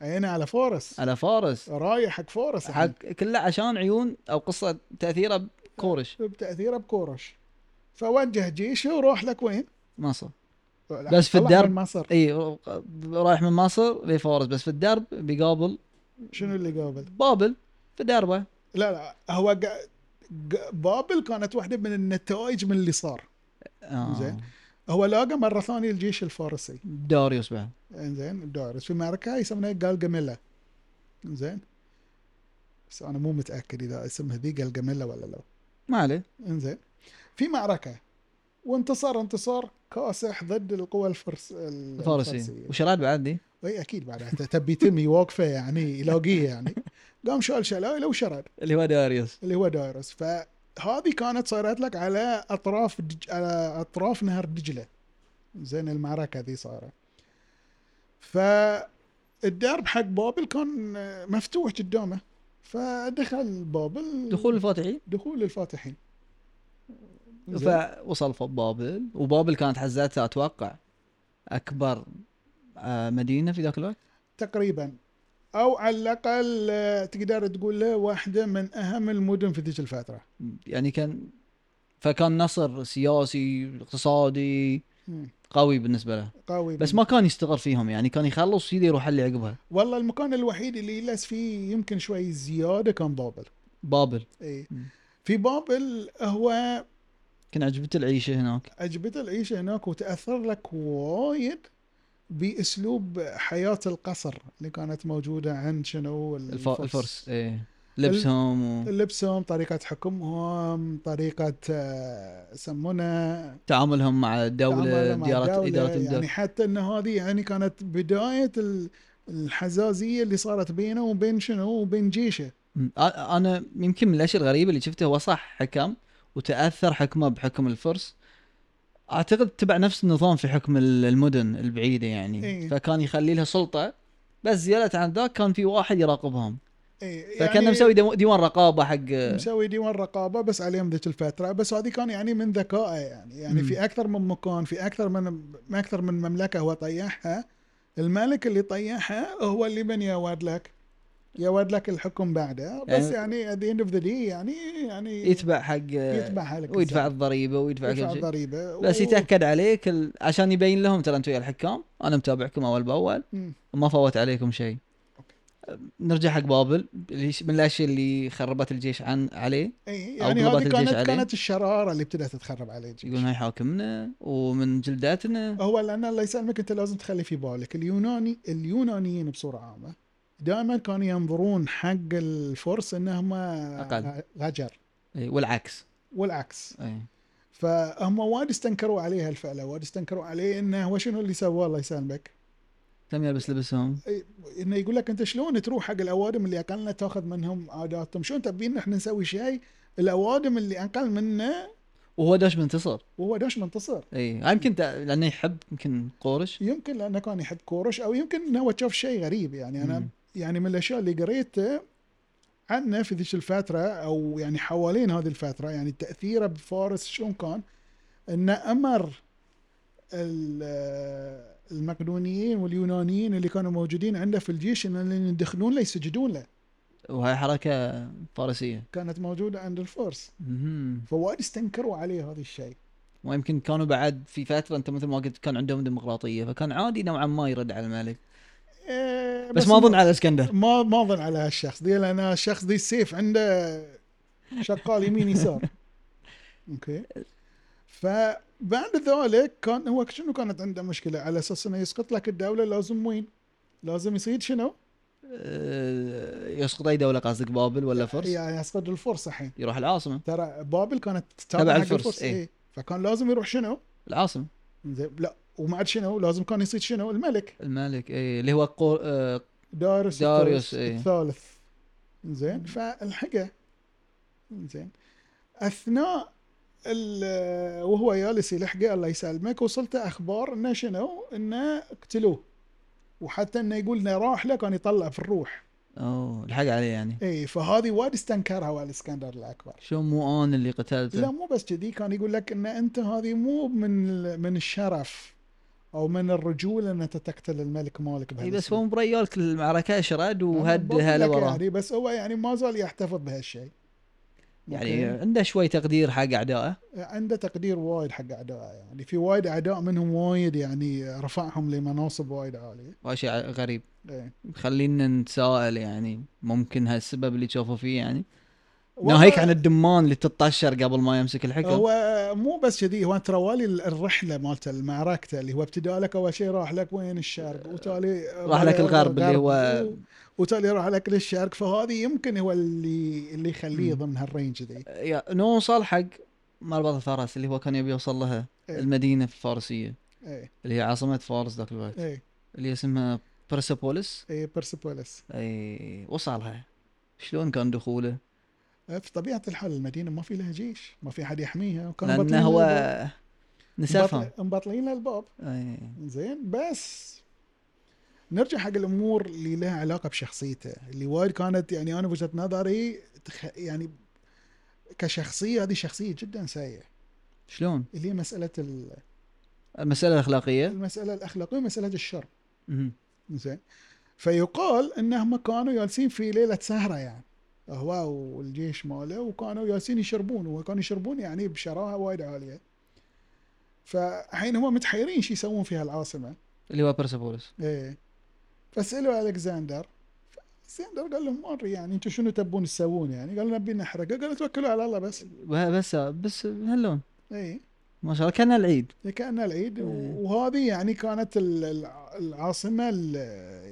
B: عينه على فورس
A: على فارس
B: رايح حق فورس يعني.
A: حق كله عشان عيون او قصه تاثيره بكورش
B: بتاثيره بكورش فوجه جيشه وروح لك وين؟
A: مصر بس في
B: طلع
A: الدرب.
B: من مصر
A: اي رايح من مصر لفارس بس في الدرب بيقابل
B: شنو اللي قابل؟
A: بابل في دربه
B: لا لا هو قا- قا- بابل كانت واحده من النتائج من اللي صار
A: آه.
B: زين. هو لاقى مره ثانيه الجيش الفارسي
A: داريوس بعد
B: انزين الدارس في معركه يسمونها جالجاميلا انزين بس انا مو متاكد اذا اسمها ذي جالجاميلا ولا لا
A: ما عليه
B: انزين في معركه وانتصار انتصار كاسح ضد القوى الفرس ال-
A: فارسي وشراد بعد دي
B: اي اكيد بعد حتى تبي تمي واقفه يعني يلاقيه يعني قام شال شلايله وشرد
A: اللي هو داريوس
B: اللي هو دايرس فهذه كانت صارت لك على اطراف دج... على اطراف نهر دجله زين المعركه ذي صارت فالدرب حق بابل كان مفتوح قدامه فدخل بابل
A: دخول الفاتحين
B: دخول الفاتحين زين.
A: فوصل في بابل وبابل كانت حزتها اتوقع اكبر آه، مدينه في ذاك الوقت
B: تقريبا او على الاقل آه، تقدر تقول له واحده من اهم المدن في ذيك الفتره
A: يعني كان فكان نصر سياسي اقتصادي
B: مم.
A: قوي بالنسبه له
B: قوي
A: بس ما كان يستقر فيهم يعني كان يخلص يدي يروح اللي عقبها
B: والله المكان الوحيد اللي يلس فيه يمكن شوي زياده كان بابل
A: بابل
B: اي
A: مم.
B: إيه. في بابل هو
A: كان عجبته العيشه هناك
B: عجبته العيشه هناك وتاثر لك وايد باسلوب حياه القصر اللي كانت موجوده عند شنو
A: الف... الفرس ايه لبسهم و...
B: لبسهم طريقه حكمهم طريقه آه، يسمونه
A: تعاملهم مع
B: تعامله
A: الدوله
B: مع
A: اداره
B: الدولة.
A: اداره
B: يعني
A: الدوله
B: حتى ان هذه يعني كانت بدايه ال- الحزازيه اللي صارت بينه وبين شنو وبين جيشه
A: مم. أ- انا يمكن من الاشياء الغريبه اللي شفتها هو صح حكم وتاثر حكمه بحكم الفرس اعتقد اتبع نفس النظام في حكم ال- المدن البعيده يعني
B: إيه.
A: فكان يخلي لها سلطه بس زياده عن ذاك كان في واحد يراقبهم
B: إيه،
A: فكانه مسوي ديو- ديوان رقابه حق
B: مسوي ديوان رقابه بس عليهم ذيك الفتره بس هذه كان يعني من ذكائه يعني يعني
A: مم.
B: في اكثر من مكان في اكثر من ما اكثر من مملكه هو طيحها الملك اللي طيحها هو اللي من يواد لك يواد لك الحكم بعده بس يعني at the end of the day يعني يعني
A: يتبع حق
B: يتبع حالك
A: ويدفع الضريبه ويدفع
B: يدفع
A: كل شيء
B: الضريبه
A: بس
B: و-
A: يتاكد عليك ال... عشان يبين لهم ترى انتم يا الحكام انا متابعكم اول باول
B: مم.
A: وما فوت عليكم شيء نرجع حق بابل اللي- من الاشياء اللي خربت الجيش عن عليه
B: إيه، يعني
A: أو ضربات
B: هذه
A: الجيش
B: كانت
A: عليه.
B: كانت الشراره اللي ابتدت تخرب عليه الجيش.
A: يقولون هاي حاكمنا ومن جلداتنا
B: هو لان الله يسلمك انت لازم تخلي في بالك اليوناني اليونانيين بصوره عامه دائما كانوا ينظرون حق الفرس انهم
A: أقل.
B: غجر
A: إي، والعكس
B: والعكس
A: اي
B: فهم وايد استنكروا عليه هالفعله وايد استنكروا عليه انه هو شنو اللي سواه الله يسلمك
A: لم يلبس لبسهم
B: إي، انه يقول لك انت شلون تروح حق الاوادم اللي اقلنا تاخذ منهم عاداتهم شلون تبين احنا نسوي شيء الاوادم اللي اقل منا
A: وهو داش منتصر
B: وهو داش منتصر
A: اي هاي يمكن تا- لانه يحب يمكن قورش
B: يمكن لانه كان يحب كورش او يمكن انه هو شاف شيء غريب يعني انا
A: مم.
B: يعني من الاشياء اللي قريته عنه في ذيك الفتره او يعني حوالين هذه الفتره يعني تاثيره بفارس شلون كان انه امر ال- آه، المقدونيين واليونانيين اللي كانوا موجودين عنده في الجيش ان يدخلون له يسجدون له
A: وهاي حركه فارسيه
B: كانت موجوده عند الفرس
A: مهم.
B: فوايد استنكروا عليه هذا الشيء
A: ويمكن كانوا بعد في فتره انت مثل ما قلت كان عندهم ديمقراطيه فكان عادي نوعا ما يرد على الملك
B: إيه،
A: بس ما اظن على اسكندر
B: ما ما اظن على هالشخص دي لان الشخص دي السيف عنده شغال يمين يسار اوكي فبعد ذلك كان هو شنو كانت عنده مشكله على اساس انه يسقط لك الدوله لازم وين؟ لازم يصيد شنو؟
A: آه، يسقط اي دوله قصدك بابل ولا فرس
B: يعني يسقط الفرس الحين
A: يروح العاصمه
B: ترى بابل كانت
A: تبع
B: حق
A: الفرس، إيه.
B: إيه. فكان لازم يروح شنو؟
A: العاصمه
B: زين لا وما عاد شنو لازم كان يصيد شنو؟ الملك
A: الملك اي اللي هو قو... آه، داريوس،
B: داريوس داريوس
A: إيه.
B: الثالث زين فالحقه زين اثناء ال- وهو جالس يلحقه الله يسلمك وصلته اخبار انه شنو؟ انه قتلوه وحتى انه يقول انه راح له كان يطلع في الروح
A: اوه الحق عليه يعني
B: اي فهذه وايد استنكرها وائل الاسكندر الاكبر
A: شو مو انا اللي
B: لا
A: قتلته
B: مو بس كذي كان يقول لك ان انت هذه مو من ال- من الشرف او من الرجوله ان انت تقتل الملك مالك
A: اي
B: بهالاسلوب.
A: إيه، بس هو مريالك المعركه اشرد
B: أنا
A: وهد
B: بقول لك
A: هلا وراه
B: يعني بس هو يعني ما زال يحتفظ بهالشيء
A: يعني
B: أوكي؟
A: عنده شوي تقدير حق اعدائه
B: عنده تقدير وايد حق اعدائه يعني في وايد اعداء منهم وايد يعني رفعهم لمناصب وايد عاليه
A: واشي ع- غريب
B: إيه.
A: خلينا نتساءل يعني ممكن هالسبب اللي تشوفه فيه يعني
B: والله
A: ناهيك عن الدمان اللي تتطشر قبل ما يمسك الحكم
B: هو مو بس كذي هو ترى والي الرحله مالته المعركته اللي هو ابتداء لك اول شيء راح لك وين الشرق وتالي
A: راح لك الغرب اللي هو
B: و- وتالي راح لك للشرق فهذه يمكن هو اللي اللي يخليه
A: مم.
B: ضمن هالرينج ذي
A: يا نوصل حق مربط الفرس اللي هو كان يبي يوصل لها
B: إيه.
A: المدينه الفارسيه
B: اي
A: اللي هي عاصمه فارس ذاك الوقت
B: اي
A: اللي اسمها برسبوليس
B: اي بيرسبوليس
A: اي وصلها شلون كان دخوله؟
B: آه، في طبيعه الحال المدينه ما في لها جيش ما في حد يحميها وكان
A: لانه
B: لها
A: هو
B: الباب.
A: نسفهم
B: مبطل- مبطلين لها الباب
A: اي
B: زين بس نرجع حق الامور اللي لها علاقه بشخصيته اللي وايد كانت يعني انا وجهه نظري تخ... يعني كشخصيه هذه شخصيه جدا سيئه
A: شلون؟
B: اللي هي مساله ال-
A: المساله الاخلاقيه
B: المساله الاخلاقيه ومساله الشر
A: مهم.
B: زين فيقال انهم كانوا جالسين في ليله سهره يعني هو والجيش ماله وكانوا جالسين يشربون وكانوا يشربون يعني بشراهه وايد عاليه فالحين هم متحيرين شو يسوون في هالعاصمه
A: اللي هو برسبوليس
B: ايه فسالوا الكسندر الكسندر قال لهم ما ادري يعني انتم شنو تبون تسوون يعني قالوا نبي نحرقه قالوا توكلوا على الله بس
A: بس بس هاللون
B: اي
A: ما شاء الله كان العيد
B: كانه العيد
A: إيه.
B: و- وهذه يعني كانت ال- الع- العاصمه ال-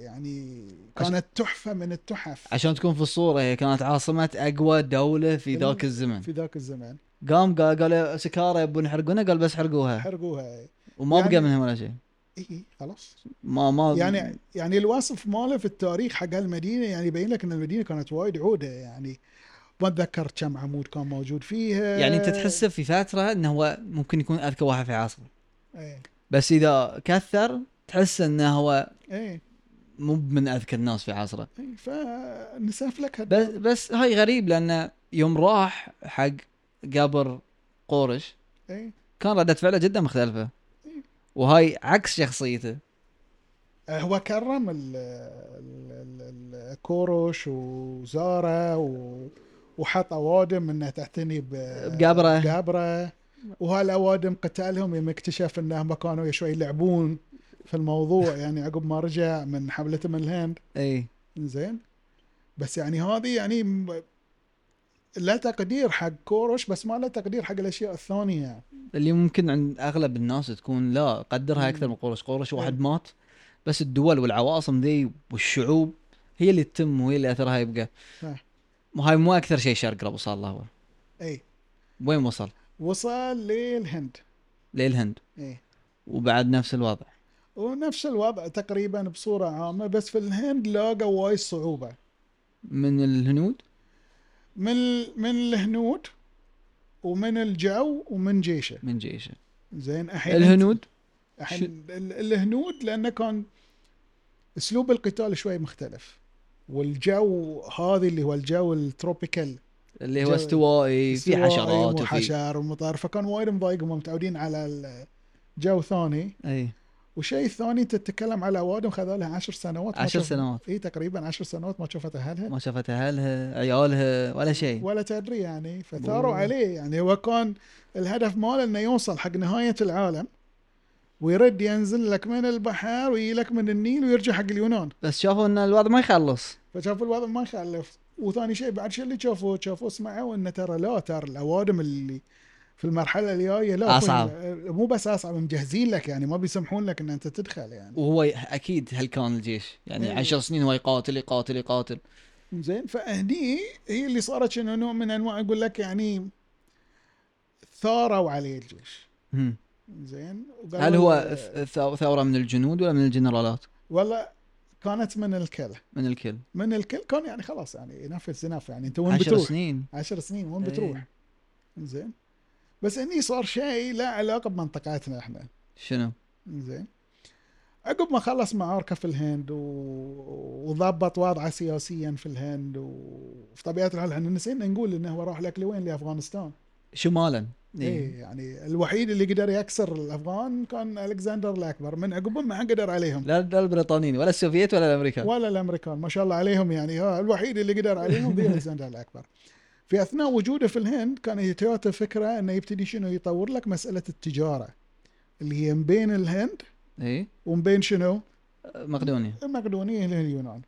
B: يعني كانت تحفه من التحف
A: عشان تكون في الصوره هي كانت عاصمه اقوى دوله في
B: بال-
A: ذاك الزمن
B: في ذاك الزمان
A: قام قال قال سكاره يبون يحرقونه قال بس حرقوها
B: حرقوها اي
A: وما
B: يعني-
A: بقى منهم ولا شيء
B: إي، خلاص
A: ما ما
B: يعني يعني الوصف ماله في التاريخ حق هالمدينه يعني يبين لك ان المدينه كانت وايد عوده يعني ما اتذكر كم عمود كان موجود فيها
A: يعني انت تحسه في فتره انه هو ممكن يكون اذكى واحد في عصره
B: ايه
A: بس اذا كثر تحس انه هو
B: ايه
A: مو من اذكى الناس في عصره
B: اي فنسف لك هد...
A: بس بس هاي غريب لانه يوم راح حق قبر قورش
B: اي
A: كان ردة فعله جدا مختلفة وهاي عكس شخصيته
B: هو كرم ال ال- ال- ال- كوروش وزارة و... وحط اوادم انها تعتني ب...
A: بقبره.
B: آه، بقبره وهالاوادم قتالهم يوم اكتشف انهم كانوا شوي يلعبون في الموضوع يعني عقب ما رجع من حملته من الهند
A: اي
B: زين بس يعني هذه يعني م- لا تقدير حق كوروش بس ما لا تقدير حق الاشياء الثانيه يعني.
A: اللي ممكن عند اغلب الناس تكون لا قدرها
B: مم.
A: اكثر من قورش قورش
B: إيه.
A: واحد مات بس الدول والعواصم ذي والشعوب هي اللي تتم وهي اللي اثرها يبقى
B: صح.
A: وهاي مو اكثر شيء شرق رب وصل الله هو
B: اي
A: وين وصل؟
B: إيه. وصل للهند
A: للهند
B: اي
A: وبعد نفس الوضع
B: ونفس الوضع تقريبا بصورة عامة بس في الهند لاقوا وايد صعوبة
A: من الهنود
B: من من الهنود ومن الجو ومن جيشه
A: من جيشه
B: زين الحين
A: الهنود
B: الحين ال- الهنود لأنه كان أسلوب القتال شوي مختلف والجو هذه اللي هو الجو التروبيكال
A: اللي هو
B: جو-
A: استوائي في
B: استوائي
A: حشرات وفي
B: وحشر ومطار فكان وايد مضايقهم متعودين على الجو ثاني
A: اي
B: وشيء ثاني انت تتكلم على اوادم خذا لها 10 سنوات ما
A: عشر
B: شاف-
A: سنوات.
B: اي تقريبا 10 سنوات ما شافت اهلها
A: ما شافت اهلها عيالها ولا شيء
B: ولا تدري يعني فثاروا
A: أوه.
B: عليه يعني هو كان الهدف ماله انه يوصل حق نهايه العالم ويرد ينزل لك من البحر ويجي لك من النيل ويرجع حق اليونان
A: بس شافوا ان الوضع ما يخلص
B: فشافوا الوضع ما يخلف وثاني شيء بعد شو اللي شافوه؟ شافوه سمعوا انه ترى لا ترى الاوادم اللي في المرحله الجايه لا أه،
A: أصعب.
B: مو بس اصعب مجهزين لك يعني ما بيسمحون لك ان انت تدخل يعني
A: وهو ي- اكيد هل كان الجيش يعني
B: إيه.
A: عشر سنين هو يقاتل يقاتل يقاتل
B: زين فهني هي اللي صارت شنو نوع من انواع اقول لك يعني ثاروا عليه الجيش
A: هم.
B: زين وقالوا
A: هل هو
B: له-
A: ث- ث- ثوره من الجنود ولا من الجنرالات؟
B: والله كانت من الكل
A: من الكل
B: من الكل كان يعني خلاص يعني نفس نفس يعني انت وين
A: عشر
B: بتروح؟
A: سنين
B: عشر سنين وين
A: إيه.
B: بتروح؟ زين بس هني صار شيء لا علاقه بمنطقتنا احنا
A: شنو؟
B: زين عقب ما خلص معاركه في الهند و... وضبط وضعه سياسيا في الهند وفي طبيعه الحال احنا نسينا نقول انه هو راح لك لوين لافغانستان
A: شمالا
B: إيه.
A: إيه.
B: يعني الوحيد اللي قدر يكسر الافغان كان الكسندر الاكبر من عقبهم ما حد قدر عليهم
A: لا لا البريطانيين ولا السوفييت ولا الامريكان
B: ولا الامريكان ما شاء الله عليهم يعني ها الوحيد اللي قدر عليهم هو الكسندر الاكبر في اثناء وجوده في الهند كان يتويوتا فكره انه يبتدي شنو يطور لك مساله التجاره اللي هي من بين الهند
A: اي
B: ومن بين شنو؟
A: مقدونيا
B: المقدونية إلى اليونان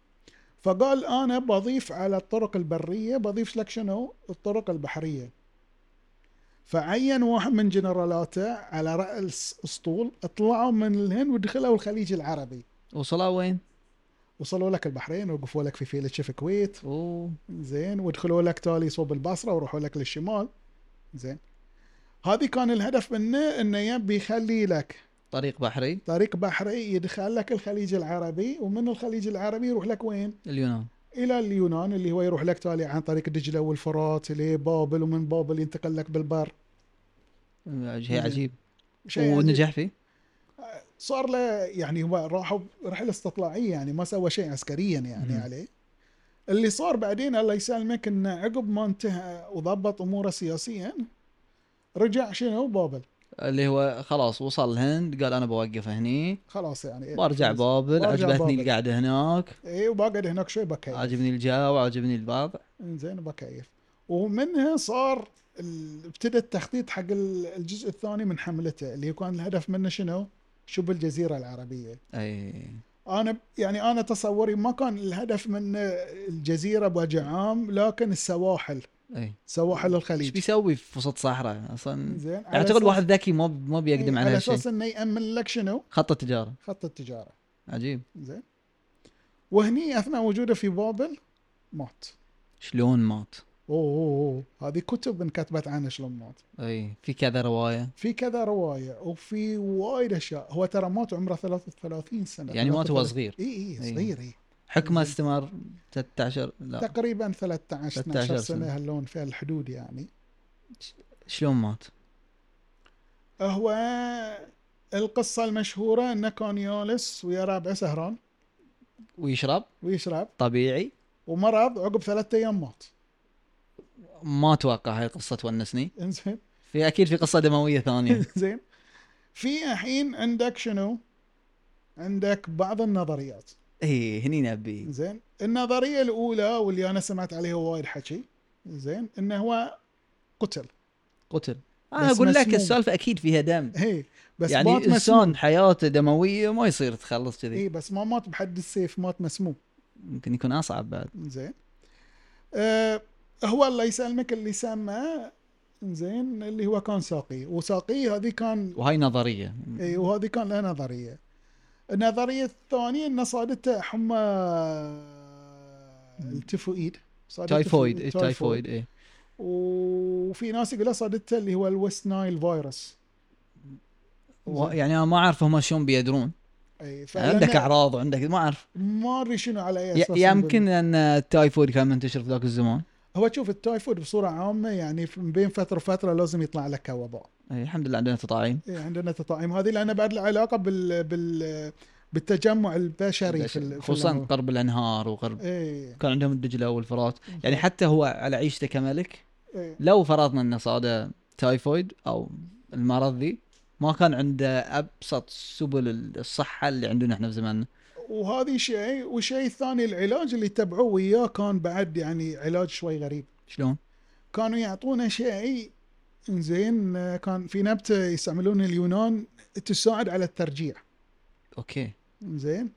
B: فقال أنا بضيف على الطرق البرية بضيف لك شنو الطرق البحرية فعين واحد من جنرالاته على رأس أسطول طلعوا من الهند ودخلوا الخليج العربي
A: وصلوا وين؟
B: وصلوا لك البحرين وقفوا لك في فيلة في الكويت
A: اوه
B: زين ودخلوا لك تالي صوب البصرة وروحوا لك للشمال زين هذه كان الهدف منه انه يبي يخلي لك
A: طريق بحري
B: طريق بحري يدخل لك الخليج العربي ومن الخليج العربي يروح لك وين؟
A: اليونان
B: الى اليونان اللي هو يروح لك تالي عن طريق دجله والفرات لبابل ومن بابل ينتقل لك بالبر
A: شيء
B: زين.
A: عجيب
B: شيء عجيب.
A: ونجح فيه؟
B: صار له يعني هو راحوا رحله استطلاعيه يعني ما سوى شيء عسكريا يعني
A: مم.
B: عليه اللي صار بعدين الله يسلمك انه عقب ما انتهى وضبط اموره سياسيا رجع شنو بابل
A: اللي هو خلاص وصل الهند قال انا بوقف هني
B: خلاص يعني
A: برجع بابل
B: برجع
A: عجبتني
B: بابل.
A: القعده هناك
B: اي وبقعد هناك شوي بكيف
A: عجبني الجو عجبني البعض
B: زين بكيف ومنها صار ال- ابتدى التخطيط حق ال- الجزء الثاني من حملته اللي كان الهدف منه شنو؟ شبه الجزيره العربيه.
A: اي
B: انا يعني انا تصوري ما كان الهدف من الجزيره بوجه عام لكن السواحل
A: اي
B: سواحل
A: ايش
B: الخليج
A: بيسوي في وسط صحراء اصلا
B: زين على
A: اعتقد
B: أساس- إيه،
A: واحد ذكي ما ما بيقدم على
B: على
A: هالشيء
B: اساس انه يامن لك شنو؟
A: خط التجاره
B: خط التجاره
A: عجيب
B: زين وهني اثناء وجوده في بابل مات
A: شلون مات
B: اوه, أوه, أوه. هذه كتب انكتبت عنه شلون مات
A: اي في كذا روايه
B: في كذا روايه وفي وايد اشياء هو ترى مات عمره 33 سنه
A: يعني مات وهو
B: 33.
A: صغير إيه.
B: اي
A: إي.
B: اي إيه، صغير اي
A: حكمه استمر 13 لا
B: تقريبا 13 12
A: 13 آه. سنة.
B: سنه هاللون في الحدود يعني
A: شلون مات
B: هو القصه المشهوره انه كان يالس ويا رابعه سهران
A: ويشرب
B: ويشرب
A: طبيعي
B: ومرض عقب ثلاثة ايام مات
A: ما اتوقع هاي قصه تونسني
B: انزين
A: في اكيد في قصه دمويه ثانيه
B: زين في الحين عندك شنو؟ عندك بعض النظريات
A: اي إيه، هني نبي
B: زين النظريه الاولى واللي انا سمعت عليها وايد حكي زين انه هو قتل
A: قتل انا
B: بس
A: اقول لك
B: مسموم.
A: السالفه اكيد فيها دم
B: هي إيه، بس
A: يعني
B: مات مسموم إيه.
A: انسان حياته دمويه ما يصير تخلص كذي
B: اي بس ما مات بحد السيف مات مسموم
A: ممكن يكون اصعب بعد
B: زين أه هو الله يسلمك اللي سمى زين اللي هو كان ساقي وساقي هذه كان
A: وهاي نظريه
B: اي وهذه كان لها نظريه النظريه الثانيه انه صادته حمى التيفويد صادته
A: تايفويد إيه،
B: تايفويد.
A: تايفويد اي
B: وفي ناس يقول صادته اللي هو الويست نايل فيروس زين.
A: يعني انا ما اعرف هم شلون بيدرون
B: اي فلأن
A: يعني عندك اعراض وعندك ما اعرف
B: ما ادري شنو على اي
A: ي-
B: اساس
A: يمكن ان التايفويد كان منتشر في ذاك الزمان
B: هو تشوف التايفود بصوره عامه يعني في- بين فتره وفتره لازم يطلع لك وباء
A: اي الحمد لله عندنا تطاعين
B: إيه، عندنا تطاعيم هذه لان بعد لها علاقه بال بال بالتجمع البشري في إيه. ال- في
A: خصوصا قرب الانهار وقرب
B: اي
A: كان عندهم الدجله والفرات يعني حتى هو على عيشته كملك
B: إيه.
A: لو فرضنا انه صاده تايفويد او المرض ذي ما كان عنده ابسط سبل الصحه اللي عندنا احنا في زماننا
B: وهذه شيء والشيء الثاني العلاج اللي تبعوه وياه كان بعد يعني علاج شوي غريب
A: شلون؟
B: كانوا يعطونا شيء زين آه، كان في نبته يستعملون اليونان تساعد على الترجيع
A: اوكي
B: زين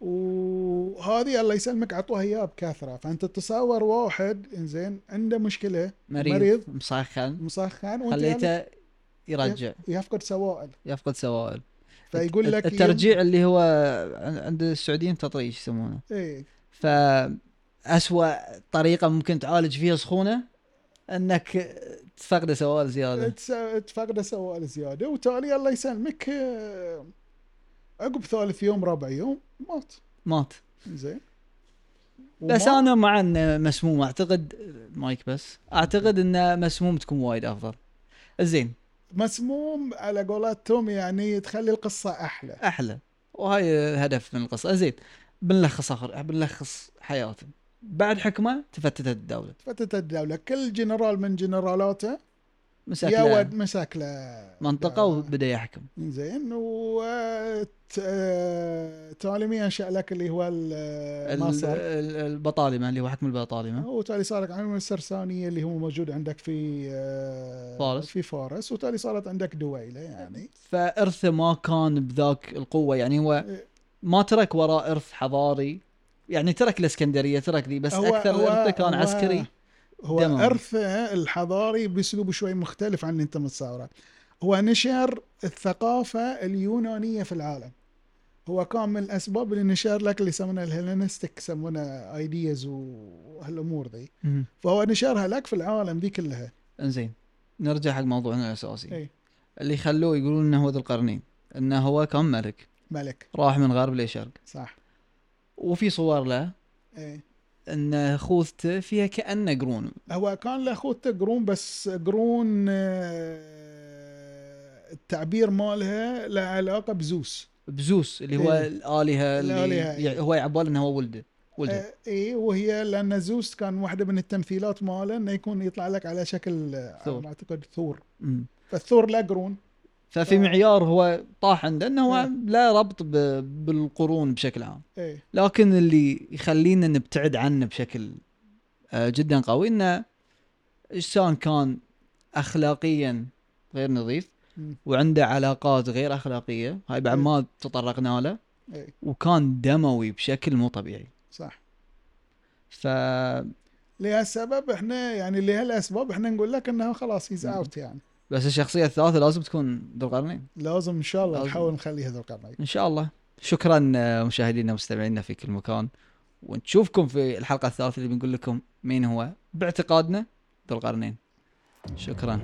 B: وهذه الله يسلمك عطوها اياه بكثره فانت تتصور واحد انزين عنده مشكله
A: مريض,
B: مريض.
A: مسخن
B: مسخن وانت يعني
A: خليته يرجع
B: يفقد سوائل
A: يفقد سوائل
B: فيقول لك
A: الترجيع اللي هو عند السعوديين تطريش يسمونه
B: ايه
A: ف اسوأ طريقه ممكن تعالج فيها سخونه انك تفقد سوائل زياده
B: تس- تفقده سوائل زياده وتالي الله يسلمك آه، عقب ثالث يوم ربع يوم مات
A: مات
B: زين
A: بس انا مع انه مسموم اعتقد مايك بس اعتقد انه مسموم تكون وايد افضل زين
B: مسموم على قولات توم يعني تخلي القصه احلى
A: احلى وهاي الهدف من القصه زين بنلخص اخر بنلخص حياته بعد حكمه تفتتت الدوله
B: فتت الدوله كل جنرال من جنرالاته
A: مسك
B: يا
A: له
B: ود مساكله
A: منطقه وبدا يحكم
B: زين آه، وتعليمي انشا آه، لك اللي هو ال- آه،
A: ال-
B: مصر
A: ال- البطالمه اللي هو حكم البطالمه
B: وتالي صارت عندهم السرسانيه اللي هو موجود عندك في آه،
A: فارس.
B: في فارس وتالي صارت عندك دويله يعني
A: فارثه ما كان بذاك القوه يعني هو ما ترك وراه ارث حضاري يعني ترك الاسكندريه ترك ذي بس اكثر ارثه كان
B: هو-
A: عسكري
B: هو
A: دموي.
B: ارثه الحضاري باسلوب شوي مختلف عن اللي انت متصوره هو نشر الثقافه اليونانيه في العالم هو كان من الاسباب اللي نشر لك اللي يسمونه الهيلينستيك يسمونه ايديز وهالامور ذي
A: مهم.
B: فهو نشرها لك في العالم ذي كلها
A: انزين نرجع حق موضوعنا الاساسي
B: أي.
A: اللي خلوه يقولون انه هو ذو القرنين انه هو كان ملك
B: ملك
A: راح من غرب لشرق
B: صح
A: وفي صور له
B: ايه
A: ان خوذته فيها كانه قرون
B: هو كان له اخوته قرون بس قرون آه، التعبير مالها له علاقه بزوس
A: بزوس اللي هو
B: إيه.
A: الالهه اللي
B: الآلهة، إيه.
A: يعني هو يعبال انه هو ولده ولده
B: آه، اي وهي لان زوس كان واحده من التمثيلات ماله انه يكون يطلع لك على شكل آه،
A: ثور.
B: أنا اعتقد ثور
A: مم.
B: فالثور لا قرون
A: ففي معيار هو طاح عنده انه هو
B: آه. إيه.
A: لا ربط ب- بالقرون بشكل عام
B: اي
A: لكن اللي يخلينا نبتعد عنه بشكل آه، جدا قوي انه انسان كان اخلاقيا غير نظيف
B: مم.
A: وعنده علاقات غير اخلاقيه هاي بعد ما تطرقنا له
B: اي
A: وكان دموي بشكل مو طبيعي
B: صح
A: ف
B: لهالسبب احنا يعني لهالاسباب احنا نقول لك انه خلاص هيز
A: مم.
B: اوت يعني
A: بس الشخصيه الثالثه لازم تكون ذو القرنين
B: لازم ان شاء الله
A: لازم.
B: نحاول نخليها ذو القرنين
A: ان شاء الله شكرا آه، مشاهدينا ومستمعينا في كل مكان ونشوفكم في الحلقه الثالثه اللي بنقول لكم مين هو باعتقادنا ذو القرنين شكرا